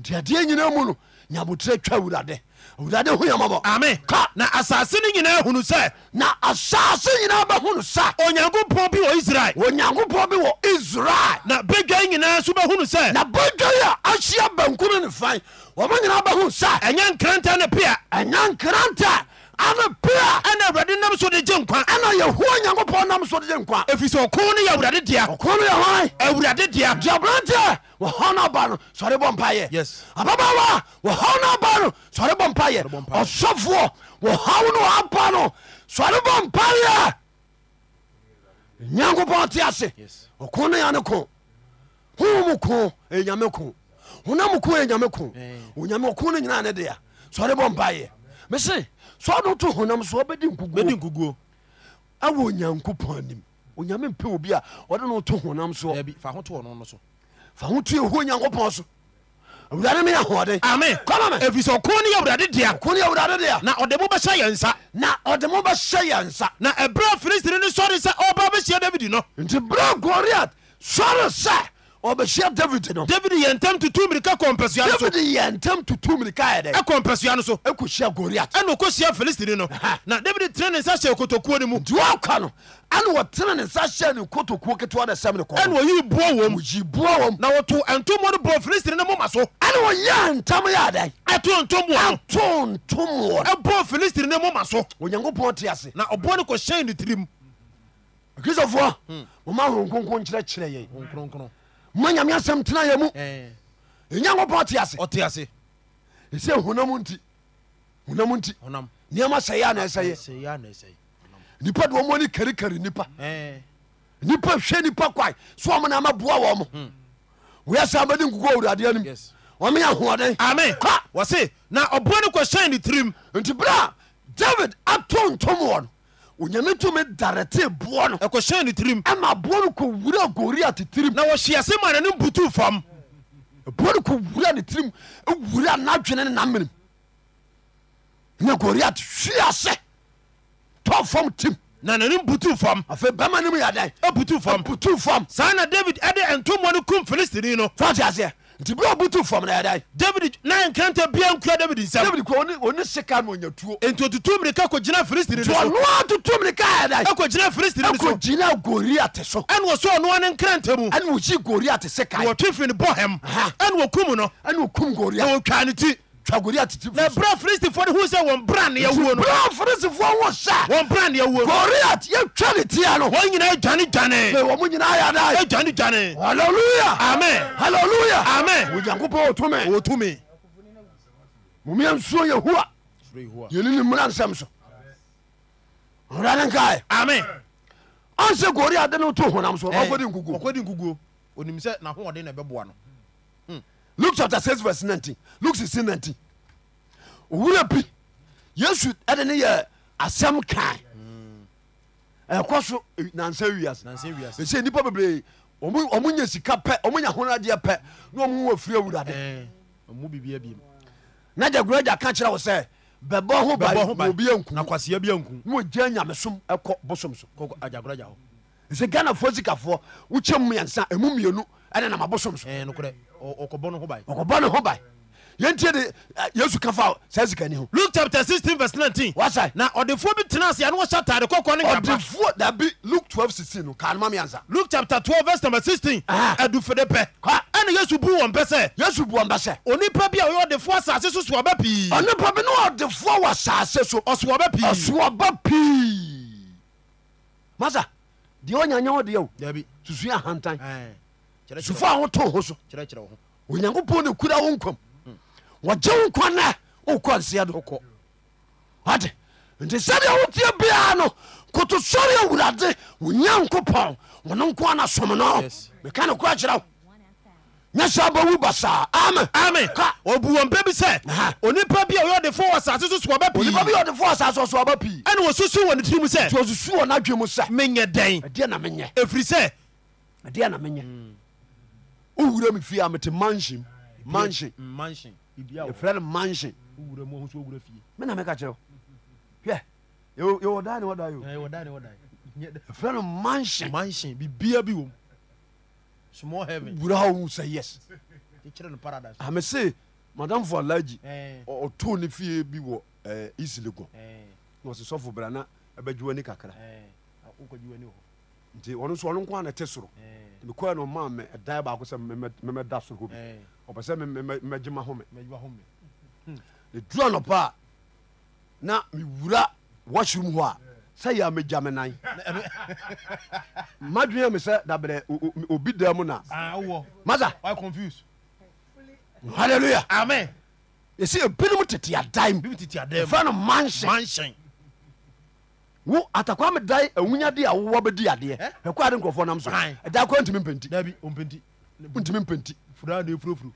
nti adeɛ nyina mu no nyamotrɛ twa awurade awurade ho yamabɔ
amen
Ka.
na asase no nyinaa hunu sɛ
na asase nyinaa bɛho no sa
onyankopɔn bi wɔ israel
onyankopɔn bi wɔ israel
na badwan nyinaa so bɛhunu sɛ
na badwai a ahyia bankum ne fan wɔma nyinaa bɛho sa
ɛnyɛ nkranta ne pea
ɛnya nkranta ane pea
ɛna awurade nam so de gye nkwa
ɛna yɛhoa nyankopɔn nam so de yɛ nkwa
ɛfiri sɛ ɔko no yɛ awurade dea
ɔko no yɛhwan
awurade dea
diabrante wɔhaw no aba no sɔre bɔ
Yes.
mpayɛ ababawa wɔhaw no aba no sɔre bɔ
Sɔre bɔ
mpayɛ
mpaeɛ.
ɔsɔfoɔ wɔhaw no apa no sɔre bɔ mpayɛ nyankopɔn te ase
Yes.
ɔko no yane ko homu ko ɛnyame ko honam ko ɛnyame ko onyame ɔko no nyina ne dea sɔre bɔ mpayɛ mese sɛ ɔno to honam so ɔbɛdi nkuguo
nkuguo
awɔ onyankopɔn anim onyame mpɛ obi a ɔde no to honam soɔ
dabi fa ho to ɔno no so
fa ho tu ɛhu onyankopɔn so awurade meyɛ ahoɔden
amen
Kɔma me.
ɛfiri sɛ ɔko no yɛ awurade dea
ko ne awurade deɛ
na ɔde mo bɛhyɛ yɛ nsa
na ɔde mo bɛhyɛ yɛ nsa
na ɛberɛ a filistini no sɔre sɛ ɔba bɛhyia david no
nti berɛ goriat sɔre sɛ ɔbɛhyia david no
david yɛ ntam tutu mmirika kɔ mpɛsua no so
david yɛ ntɛm tutu mirikaɛ dɛ
ɛkɔ mpɛsua no so
ɛkɔhyia goriat
ɛna ɔkɔhyia filistini no na david tene ne nsa hyɛ kotokuo no mu
nti wɔka no ɛne wɔtene ne nsa hyɛ ne kotokuo ketewa ne sɛm ne kɔ
ɛna ɔyii boɔ wɔ mu
yi boa wɔ m
na wɔto ntommɔ no bɔɔ filistini no moma so
ɛne wɔyɛ ntam yɛ dɛn
ɛto ntommɔ no
to ntom wɔ
ɛbɔɔ filistini no moma so
onyankopɔn te ase
na ɔboɔ no kɔhyɛn ne tirim Hmm.
kristofoɔ moma hoho nkonko nkyerɛkyerɛ yɛn
kronkron
ma nyame asɛm tena yɛ mu
Eh,
nyankopɔn te ase
ɔte ase
ɛsɛ honam nti honam nti
honam
nneɛma sɛyɛ ana ɛsɛyɛ nipa de ɔmɔ ne karikari nipa nipa hwɛ nipa kwae so ɔmo na amaboa wɔ mo woyɛ sɛ bɛde nkuku awurade anim
Hmm. Yes.
ɔme yɛ ahoɔden
amen
Ka.
wɔ se na ɔboɔ no kɔhyɛn ne tirim
nti berɛ a david ato ntom wɔ no onyame tumi darete boɔ no
ɛkɔhyɛn ne tirim
ɛma boɔ no kɔwura goria tetirim
na wɔhye ase ma nane mbutu fam
boɔ no kɔwura ne tirim wura n'adwene ne namenem na goria hwe ase tɔ fam tim
na nane mbutu fam
afei bɛma no mu yɛdɛn
abutu fam
butu fam
saa na david ɛde ntommɔ no kum filistini no
fɔte aseɛ nti berɛ a ɔbutu fam no yɛdɛn
david na nkranta bia nkura david nsɛm
david kɔ ɔne sika na ɔnya tuo
enti otutu mmirika kɔgyina filistini no so
ɔnoa totom ne kaɛda
ɛkɔgyina filistini no so
ɛkɔgyina goriate so
ɛne wɔsɔ ɔnoa ne nkranta mu
ɛne ɔyi goriate sekae
wɔtwe firi no bɔhem
Aha.
ɛne wɔkum no
ɛne ɔkum
na
goriat
wɔtwaa ne ti
twa goriate ti
na ɛberɛ a filistifoɔ no hu sɛ wɔn bra neɛwuo no
berɛ forisifoɔ wo sa
wɔn bra neɛwuo no e
goriat yɛtwa ne tia no
wɔn nyinaa dwane dwane
wɔ mo nyinaa yɛda
dwane dwane
halleluya
amen
halleluya
Amen.
onyankopɔn ɔtome
wɔtumi
momea nsuo yɛhoa yɛni ne mmra nsɛm so ɔwurade nkae
amen
ɔnsɛ goriat de ne to honam so
Eh.
ɔbakɔde nkuku
ɔkɔdi nkuguo onim sɛ nahoɔden na ɛbɛboa no
luke chapter six verse nineteen luke sixteen nineteen owurɛ bi yesu ɛde ne yɛ asɛm kan ɛkɔ so eh, nansa wiase
nansɛ Hmm. wiase
ɛsɛ nnipa bebree ɔmo ɔmo nya sika pɛ ɔmo nya honadeɛ pɛ na ɔmo wɔ firi
Eh.
awurade
mu bibia bim
na gyagura gya ka kyerɛ wo sɛ bɛbɔ ho
Bɛbɔ
ba
ho ban.
obi anku
na
na
kwasia bi anku
wɔgya nyamesom ɛkɔ bosom so
kɔkɔ agyagoragya hɔ
ɛsɛ ghanafoɔ sikafoɔ
Eh,
wokyɛ mu mmiɛnsa ɛmu mmienu ɛne nam abosom so
nokorɛ ɔkɔbɔ no ho bae
ɔkɔbɔ ne ho ba yɛntie de eh, yesu ka fa saa sikani ho
luke chapter sixteen verse nineteen
wasae
na ɔdefoɔ bi tena ase a na wɔhyɛ ataade kɔkɔɔ ne nkapa
ɔdefoɔ dabi luke 12 16 no kaa noma miansa
luke chapter twelve verse number sixteen
Aha.
adufede pɛ
Ah. Kwa.
ɛna yesu bu wɔn pɛ sɛ
yesu buɔ mba sɛ
onipa bi a ɔyɛ ɔdefoɔ asase so soɔba pii
ɔnipa bi ne ɔdefoɔ wɔ asase so
ɔsoɔba pii
ɔsoɔba pii masa deɛ ɔnya nyɛ wodeɛ o
dabi
susua ahantan sufo
kyerɛkyerɛ
a wotoo ho so
kyerɛkyerɛ
onyankopɔn ne kura wo nkwam wɔgye wo nkwa nɛ wokɔ nseɛ do
wɔkɔ
ade nti sɛdeɛ wotie biaa no kotosɔre awurade wo nyankopɔn wone nko ana som no
Yes.
meka ne kora kyerɛ wo nyɛ sɛ bɛwu basaa ame
ami
Kwa.
ɔbu wɔn pɛ bi sɛ
Aha.
onipa bi a ɔyɛ ɔdefoɔ wɔ asase so soɔba pii
onipa bi yɛ ɔdefoɔ asa so ɔsoaba pii
ɛna wɔsusu wɔ ne tirim
nti
sɛ
ɔsusu wɔ n'adwe mu sɛ
menyɛ dɛn
ɛdeɛ na menyɛ
ɛfiri sɛ
ɛdeɛ na
Mm.
menyɛ wowura me fie a mete mansion mansion
Mm, mansion
yɛfrɛ no mansion mena meka kyerɛ wo hwɛ yɛwɔ- yɛwɔ daa ne wɔda yo ɛfrɛ no mansion
mansion bibia bi wɔm small heaven
wura hɔ wu sɛ yes
kyerɛ no paradise
ame se madamfo alagi Ɔ- ɔtoo ne fie bi wɔ ɛɛ, isili kɔ
Eh,
na ɔse sɔfo bra na ɛbɛdwowa ni kakra
Ah,
nti ɔno so ɔno nko a ne te soro
Eh,
mekɔɛ no ɔmaa me ɛdae baako sɛ memɛ- memɛda soro hɔ bi
eh.
ɔpɛ sɛ me- me- me- mɛgyema home ne dura nɔpa a na mewura washroom hɔ a sɛ yɛ a megya me nan madwene me sɛ dabrɛ o- o- obi da mu na
Ah,
masa halleluya
amen
ɛsɛ ebinom tete adae mu
bibi titi
ɛfrɛ
adaɛ
no manhyɛ
mansion
wo atakwa me dae awunyade a wowɔ bɛdi adeɛ
Eh?
ɛkɔade nkurɔfoɔ nam so
Aye.
ɛda kora ntimi mpɛnti
dabi ɔmpɛnti
wontimi mpɛnti
fura de furofuro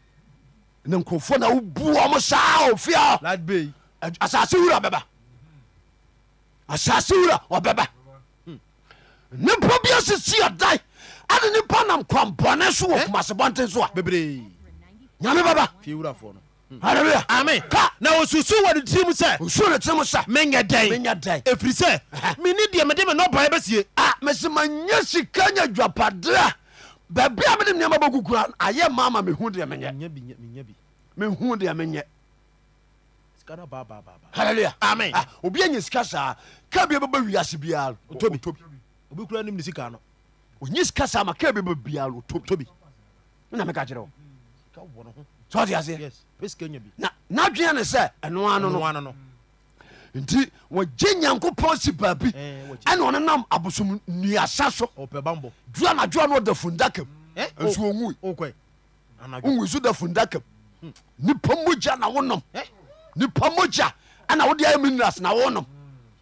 ne nkurɔfoɔ na wobu ɔ mo saa ofia
lad bay
asase wura bɛba asase wura ɔbɛba nipa bi asisi adae ade nipa nam kwambɔne so
Eh?
wɔ kumasebɔnten so a
bebree
nyame bɛba
fie wurafoɔ no
halleluya
Hmm. amen
ka
na osusu wɔ ne tirim sɛ
nsuo ne tene mo sa
menyɛ dɛn
menya dae
ɛfiri
<laughs>
sɛ meni deɛ mede me nɔbaeɛ bɛsie
a mese manya sika nya dwapadeɛ a baabi a mede nneɛma bɛkukura ayɛ maama mehu deɛ menyɛ mehu deɛ menyɛ halleluya
Amen.
Ah, obi anya sika saa ka bia bɛba wiase biara no,
Otobi.
otobi
obi kura nim ne sika no
onye sika saa ma ka bia bɛba biara no, otobi tobi na meka kyerɛ wo
Sika wɔ ne ho.
sɛ ɔte aseɛ
Yes. Pɛ sika nya bi.
na n'adwene ne sɛ ɛnoa no no
Noa no no.
nti wɔgye nyankopɔn si baabi
Eh, wɔgye.
ɛne ɔne nam abosom nuasa so
Ɔpɛ bambɔ.
dua nadwoa no ɔda fundakam
Eh?
nso ɔwui
O- okɔe. Anadwo.
wowui so da fundakam nipa mogya na wonom
Hmm. Eh?
nipa mogya ana wode ayɛ minerals na wonom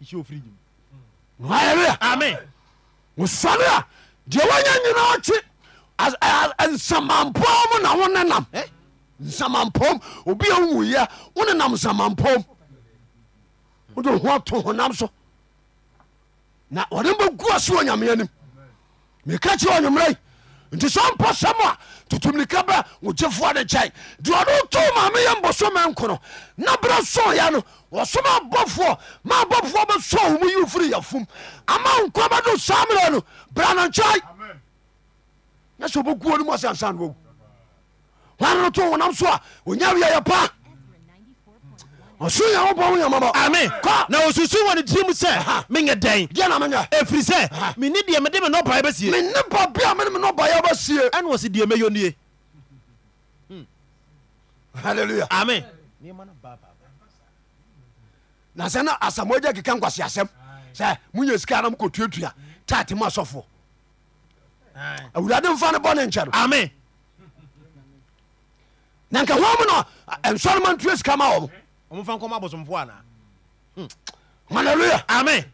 Hyehyɛ wɔ fridge mu.
halleluya
Amen.
wosɔre a deɛ woanya nyinaa kye nsamampɔm mu na wo ne nam
Eh?
nsamampɔm obi a wowuyɛ wo ne nam nsamampɔm wode ho ato honam so na ɔde bɛgua so wɔ nyame anim meka kyerɛ ɔnwommerɛ nti sɛ mpɔ sɛm a totomnika bra wogyefoɔ de kyɛe deɛ ɔde to mameyɛ mbɔsɔma nko no na berɛ sɔɔyɛ no wɔsoma abɔfoɔ ma abɔfoɔ bɛsɔ wo mu yiw firi yɛfom ama nkwa bɛdo saa mmerɛ no bra no nkyɛe nyɛ sɛ obɛkuo no mu ɔsɛ ansa no wawu wane no to wonam so a onya wiayɛ pa ɔso nyankopɔn wo yamabɔ
Amen.
Kɔ.
Na osusu wɔ ne tirim sɛ menyɛ dɛn.
deɛ na menyɛ
Ɛfiri sɛ meni deɛ mede me nɔbaeɛ bɛsie.
menne ba bi a menem nɔbayɛ bɛsie
Ɛne wɔ se deɛ mɛyɛ nie.
halleluya
Amen.
na sɛ na asamoagya keka nkwase asɛm sɛ monya sika na mokɔtuatua tate ma asɔfoɔ awurade mfa no bɔne nkyɛ no
Amen.
na eh, nka ho mu no a, ɛnsɔre ma ntua sika ma wɔ
Ɔmomfa nkɔma abosomfoɔ anaa?
mo halleluya
Amen.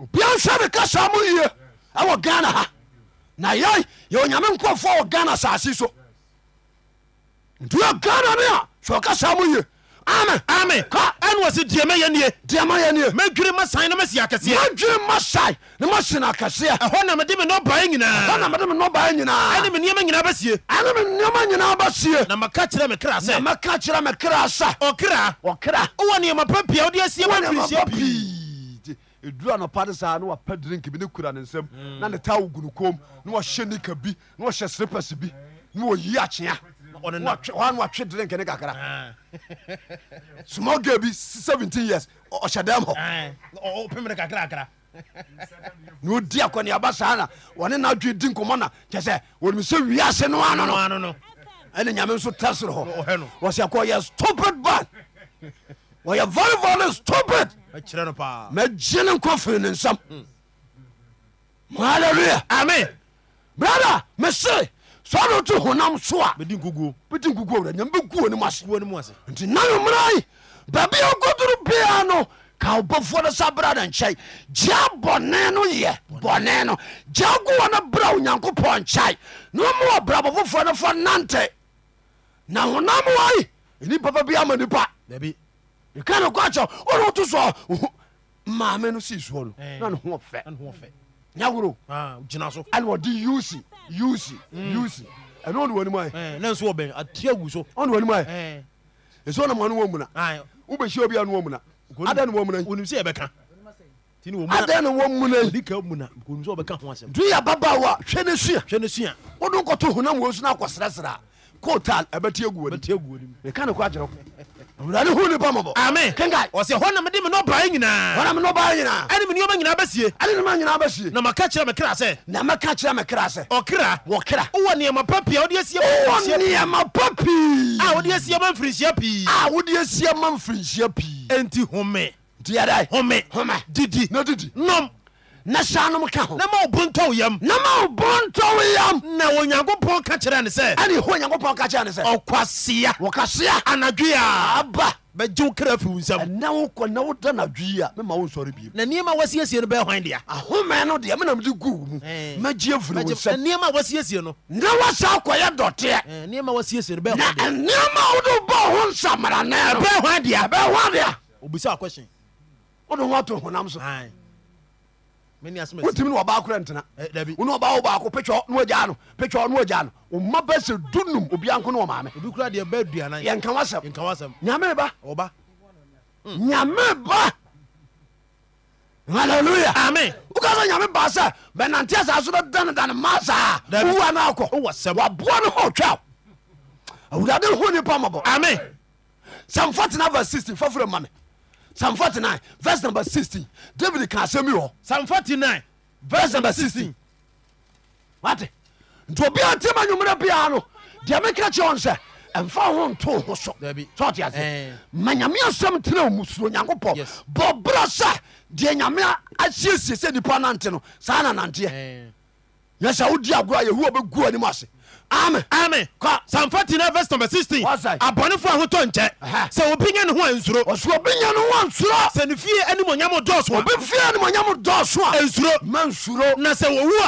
obia nhwɛ me ka Hmm. saa mo yie ɛwɔ ghana ha na yɛi yɛwɔ nyame nkɔfoɔ wɔ ghana asase so nti yɛ ghana ne a sɛ ɔka saa mo yie amen
Amen.
Kɔ.
Ɛne wɔ se deɛ mɛyɛ nie.
deɛ ma yɛ nie
Mɛdwiri masan na masi akɛseɛ.
madwene ma sae ne mase no akɛseɛ
Ɛhɔ na mede me e nɔbaeɛ
hɔ na
nyinaa.
mede me nɔbaɛ nyinaa
Ɛne me nneɛma nyinaa bɛsie.
ɛne me nneɛma nyinaa bɛsie
Na maka kyerɛ me kra sɛ,
mɛka kyerɛ me kra sa
ɔkra,
ɔkra
wowɔ nneɛma pa pii a wode asie me mfiri nsia pii.
ɛdura nɔpade saa na wapɛ drink bi ne kura ne nsam na ne ta wo gunu kom na wahyɛ nika bi na wahyɛ slippers bi na wɔyi akyea
ɔnenam
hɔ no watwe drink ne kakra small girl bi 17 years ɔ- ɔhyɛ dɛm hɔ
ɔpem no kakrakra
na odi akɔneaba saa na wɔne nadwe di nkɔmmɔ na kyɛ sɛ wɔnim sɛ wiase no ano no
ano no
ɛne nyame nso tɛ soro
Ɔhɛ
hɔ
no.
wɔsɛ kɔ yɛ stupid <laughs> ban wɔyɛ very very stupid
ɛkyerɛ no paa
magye ne nkɔ firi ne nsam halleluya
ame
brada mese sɛ wode woto honam so a
medi nkoguo
bɛdi nkukuo wura nyame bɛkuo ne mu ase
kuo no mu ase
nti nanommerai baabi a wokɔdoro bia no ka wobɔfoɔ no sa bra no nkyɛe gya bɔne no yɛ bɔne no gya goɔ no bra onyankopɔn nkyɛe na ɔma wɔ brabɔ foforɔ no fa nante na honam wai ɛni papa bi ama nipa
dabi
ɛka no kɔkyɛ ɔne woto so maame no sii soɔ
Eh.
no na ne ho fɛ
ɛne ho fɛ
nyaworo
Ah, gyina so
ɛne wɔde usi usi
Mm.
usi ɛne ɔne wanim ayɛ
Eh, na nso wɔbɛn atia gu so
ɔne wanim ayɛ
Eh,
ɛsɛ ɔnam ɔne wɔ muna
ah,
wobɛhyia obi a ne wɔ muna
Okonim.
ada ne wɔ muna
onim sɛ yɛbɛka nti ne wɔmuna
adɛn ne wɔ mu no
ɔdi ka muna onim sɛ wɔbɛka ho asɛm
nti yɛ baba wo a hwɛ no sua
hwɛ no sua
wode nkɔto honam wɔ so no akɔserɛserɛ a kotal ɛbɛti agu wani
bɛtia guo no mu
meka ne kɔ agyerɛ wurade ho nipa mɔbɔ
ame
Kenkan.
ɔsɛ hɔ na mede me nɔbae nyinaa
ɔnam no baa nyinaa
ɛne me nneɔma nyinaa bɛsie
ade noma nyinaa bɛsie
na maka kyerɛ me kra sɛ
na mɛka kyerɛ me kra
Oh.
sɛ
ɔkra
wɔkra
wowɔ nneɛma pa pii a wode asie
wowɔ
ma
nneɛma pa pii
a wode asie ma mfirinhyia pii
a wode asie ma mfirinhyia pii
enti home
nti yɛdae
Eh. home
home
didi
na didi
nom
na hyɛ nom ka ho
na ma ɔbo ntɔw yam
na ma wobɔ ntɔwo yam
na onyankopɔn ka kyerɛ ne sɛ
ɛne hɔ onyankopɔn ka kyerɛ ne sɛ
ɔkwasea
wɔkasea
anadwe a
aba
bɛgye wo kra afiri wo nsam
ɛna wokɔ na woda no adwe yi a mema wo nsɔre biem
na nneɛma a wasiesie no bɛyɛ hwan dea
ahome no deɛ menam de gu wo mu
Eh.
magye afiri wo
Bɛgye-
nsɛm
na nneɛma a wasiesie no
na wasa akɔyɛ dɔteɛ
eh, nneɛma a wasiesie no bɛyɛ
na
hwan dea
nneɛma a wode bɔ ho nsamranɛ no
ɛbɛyɛ hwan dea
ɛbɛɛ ho adea
obisa akwɛhyen
wode ho ato honam so
mene asɛm asi.
wotimi ne wɔbaa korɛ ntena
Eh, dabi
wone wɔbaa wo baako pɛtwɛ ne wagyaa no pɛtwɛ ne wagyaa no woma bɛ sɛ dunum obianko ne wɔmaame
obi kora deɛ bɛ duanan
yɛnka wasɛm
Mm. yɛnka Mm. wasɛm
nyame ba
ɔba
nyame ba halleluya
ame
woka sɛ nyame ba sɛ bɛnante asaa so bɛdanedane ma saa
Dabi.
wowa no akɔ
wowɔ sɛm
waboa no ho twaw awurade ho nipa mɔbɔ
ame
psalm 49 verse 16 fafrɛ ma me psalm 49 verse number 16 david ka asɛm yi hɔ
psalm 49
verse number 16 wate nti obia ntim anwummerɛ biaa no deɛ meka kyerɛ wo no sɛ ɛmfa wo ho nto wo ho so
Dabi.
sɛte ase
Eh.
ma nyame asɛm tena wo mu suro
Yes.
nyankopɔn bɔbrɛ sɛ deɛ nyame a- asiesie sɛ nipa nante no saa na nanteɛ
ame
yɛ sɛ wodi agorɔ a yɛhu wobɛgu anim ase amen Kɔ.
psalm 49 verse number 16
Wasai.
abɔnefo a hotɔ
Aha.
nkyɛ sɛ obi nya ne ho ansuro
ɔso obi nya no wansuro
sɛ ne fie animonyam dɔɔso a,
obi fie nomonyam dɔɔso a
ansuro
ma nsuro
na sɛ wɔwu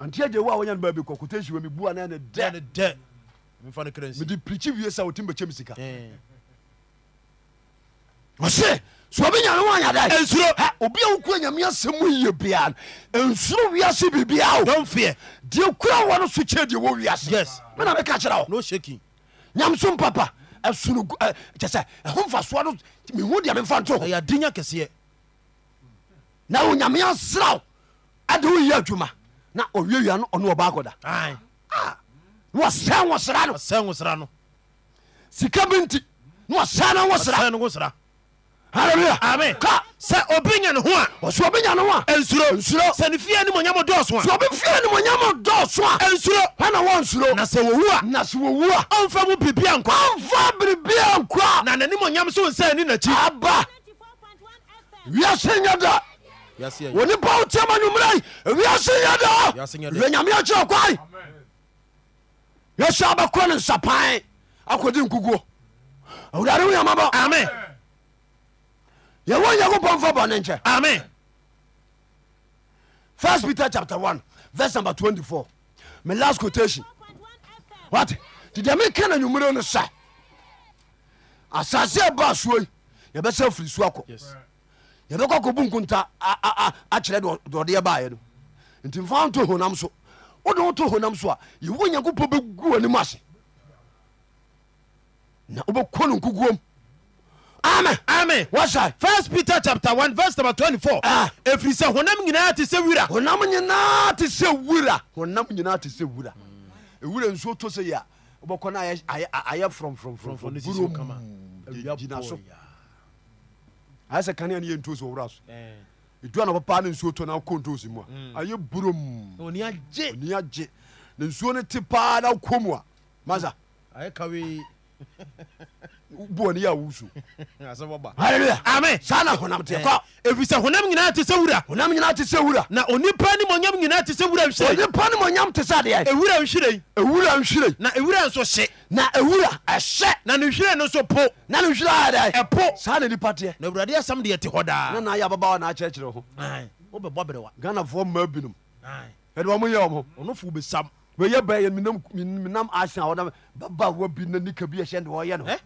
a
antiagye wo a wonya no baabi kɔ kotation wa mebu ana ne dɛ
dɛ dɛ mefa no kra nsi
mede pirikyi wie sa wotim bɛkyɛ me sika
Eh,
ɔse so obi nya no wanya dɛ
ansuro
Ha, obi a wokura nyame asɛm mu yie bia no nsuro wiase biribia o
dɔm feɛ
deɛ kura wɔ no so kyɛ deɛ wɔ
Yes.
wiase mena meka kyerɛ wo
no shaking
nyamsom papa ɛsono gu- ɛ, kyɛ sɛ ɛho mfasoa no mehu deɛ memfa nto ho
ɛyɛ adenya kɛseɛ
na wo nyame asra wo ade woyɛ adwuma na ɔwiawia no ɔne ɔbaakɔda
Ai,
na wɔsɛn wɔ sra no
ɔsɛe wo sra no
sika bi nti na wɔsɛn no wɔ sra
sɛe no wo sra
halleluya
Amen.
ka
sɛ obi nya ne ho a
ɔsɛ obi nya no ho a
ansuro
Ansuro.
sɛ ne fie animonyam dɔɔso
sɛ
a
obi fie nomonyam dɔɔso a
ansuro
hana wɔnsuro
na sɛ wɔwu a
na sɛ wɔwu a
ɔmfa mu biribia nkɔ
ɔmfa biribia nkɔ
na n'animonyam so nsa ni
a
n'akyi
aba wiase nyɛ da onipa wo tiam anwummerɛ wiase nyɛ da
Wiase nyɛ da.
wɛ nyame akyerɛ kwae yɛsɛ abɛkɔ ne nsapan akɔdi nkukuo awurade woyamabɔ
amen
yɛwɔ nyankopɔn mfa bɔne nkyɛ
amen
first peter chapter 1 verse number 24 my last quotation what nti deɛ meka na nwumere no sa asase a ba suo yi yɛbɛsɛ firi suo akɔ
yes
yɛbɛkɔ akɔbu nkonta a- a- a- akyerɛ deɛ ɔ- deɛ ɔde yɛbaeɛ no nti mfa nto honam so wode woto honam so a yɛwo nyankopɔn bɛgu anim ase na wobɛkɔ no nkukuom amen
amen
wasae
first peter chapter one verse number twenty-four
Ah.
efiri sɛ honam nyinaa te sɛ wira
honam nyinaa te sɛ wura honam nyinaa te sɛ wura ewura nsuo to sɛ yɛ a wobɛkɔ no ayɛ frɔmfrɔmfrɔmfrɔm
Frɔmfrɔm no sisi hɔ kama.
burom gyina so ayɛ sɛ kanea ne yɛ ntos wɔ wura so ɛdua na wɔpaa ne nsuo tɔ na wokɔ ntos mu
Mm.
a ayɛ burom
oni agye
ani agye ne nsuo no te paa na wokɔ mu a masa
ayɛ kawe
boɔ ne yɛ a <laughs> wosu
asɛm ɔba
halleluya ame saa na honam teɛ kɔ
ɛfiri sɛ honam nyinaa te sɛ wura
honam nyinaa te sɛ wura
na onipa ne mɔnyam nyinaa te sɛ wura nhwiren
onipa no mɔnyam te sɛ deɛ
ɛwura nhwiren
ɛwura nhwire
na ɛwura nso hye
na ɛwura ɛhyɛ
na ne nhwiren no nso po
na ne nhwire ayɛdɛ
ɛpo
saa na nipa teɛ
na awurade asɛm deɛ te hɔ
na
daa
naayɛ ababawa naakyerɛkyerɛ ho
Ai, wobɛbɔ berewa
ghanafoɔ mma binom
Ai,
ɛde wɔ moyɛ wɔ ho
ɔno fo wobɛsam
bɛyɛ bɛyɛ menam asen a wɔnam baba wa bi na nika bi ɛhyɛ de wɔyɛ no
Eh?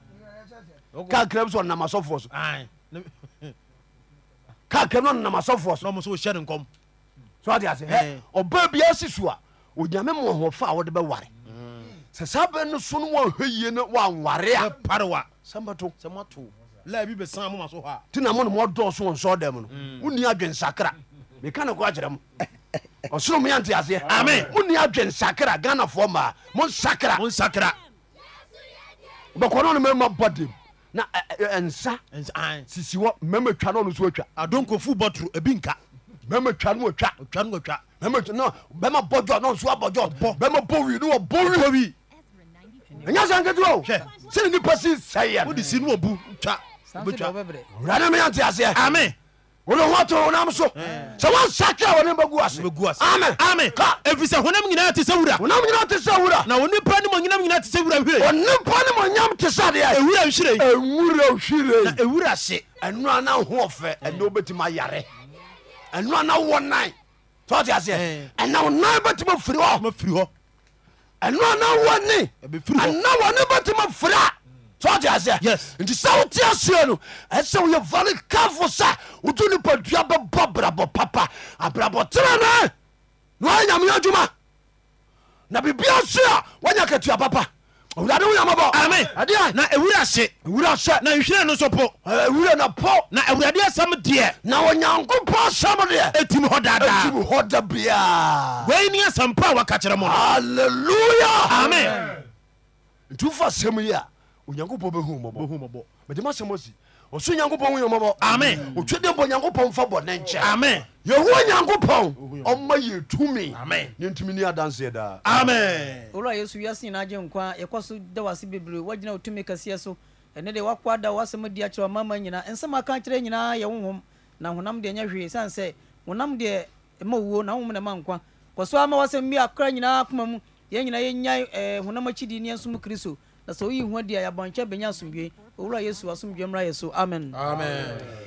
kakra bi sɛ ɔnam asɔfoɔ so
Ai, na
kakra bi no ɔnam asɔfoɔ so
ɔmo so wohyɛ no nkɔm
so ade ase
Eh.
hɛ ɔba bia si so a onyame mmɔhɔ fa a wode bɛware
Mm.
sɛ saa bɛ no so no wahɛ yie no wanware a
parewa
sɛmbato
sɛ moato la bi bɛsan moma so hɔ
nti na mo ne moɔdɔɔ so wɔ nsɔ dɛm
Mm.
no wonni adwensakra meka ne kɔ
<laughs>
akyerɛ mo ɔsoro mo yɛnte aseɛ
Amen.
wonni adwensakra ghanafoɔ maa
a
monsakra
monsakra
bɛkɔ no ne mɛma bɔdem na ɛ- ɛ- ɛ- nsa
Ɛns- ai.
sisi hɔ mɛma twa no ɔno so atwa
adonkofo bɔtoro ebi nka
mɛma twa no atwa
ɔtwa no watwa
mɛma twa no bɛma bɔdwa no nso abɔdwa bɛma bɔwi no wɔbɔ wi ɛnyɛ sɛ nketewa o
Hwɛ.
sɛne nipa si nsɛeɛ
wode si no wɔbu twa
saa nso deɛ
wobɛtwa
wɔbɛbrɛ
wurade meyɛnte aseɛ
ame
wode ho ato wonam so sɛ wansakra wɔne bɛgu
bɛgu
ase
ase
amen
ame
Ka.
ɛfiri sɛ honam nyinaa te sɛ wura
wonam nyina te sɛ wura
na onipa ne mɔnyinam nyinaa te sɛ wura hwere
ɔnipa ne mɔnyam te sɛ deɛ
wura nhwirei
ɛwura
na
hwire
ɛwura hye
ɛnoa na ho ɔfɛ ɛne wobɛtumi ayare ɛnoa na wɔ nan sɛ ɔte aseɛ ɛna wo nan bɛtumi afiri hɔ
ma firi hɔ
ɛnoa na wɔ ne
Ɛbɛfiri hɔ.
ɛna
Mm.
wɔ ne bɛtumi afiri a sɛ ɔte
Yes.
aseɛ nti sɛ wote aseɛ no ɛsɛ woyɛ vale kafo sa woto nipa dua bɛbɔ brabɔ papa abrabɔ terane na wayɛ nyamea adwuma na biribia so a woanya katua papa owurade wo
Amen.
yamabɔ ɛdeɛ
na ɛwura hye
wura sɛ
na nhwirɛ no nso po
wura na pɔ
na awurade asɛm deɛ
na onyankopɔn sɛm deɛ
ɛtim hɔ daadaa
ɛtim hɔ da biaa
wei ni asɛm pa a waka kyerɛ mo no
aleluya
amen
nti wofa sɛm yi a onyankopɔn bɛhu wo mmɔbɔ
Bohu mmɔbɔ.
mede masɛm asi ɔso onyankopɔn hu yɛ mmɔbɔ
Amen.
otwe de mbɔ onyankopɔn mfa bɔne nkyɛ
amen
yɛhoa onyankopɔn ɔma yɛ tumi
Amen.
ne ntumi ni adanseɛ daa
amen
owura yesu wiase nyinaa gye nkwa yɛkɔ so da wase bebree woagyina wo tumi kɛseɛ so ɛne de woakɔ ada woasɛm di akyerɛ ɔmama nyinaa nsɛm aka kyerɛ nyinaa yɛ wohom na honam deɛ nyɛ hwee siane sɛ honam deɛ ɛma wuo na wohom ne ma nkwa kɔ so ama woasɛm bi akora nyinaa koma mu yɛn nyinaa yɛnyae eh, honam akyidi ne yɛnsom kristo na sɛ woyi ho adi a yɛabɔnkyɛ bɛnya asomdwe owura yesu asomdwe mmra yɛ so amen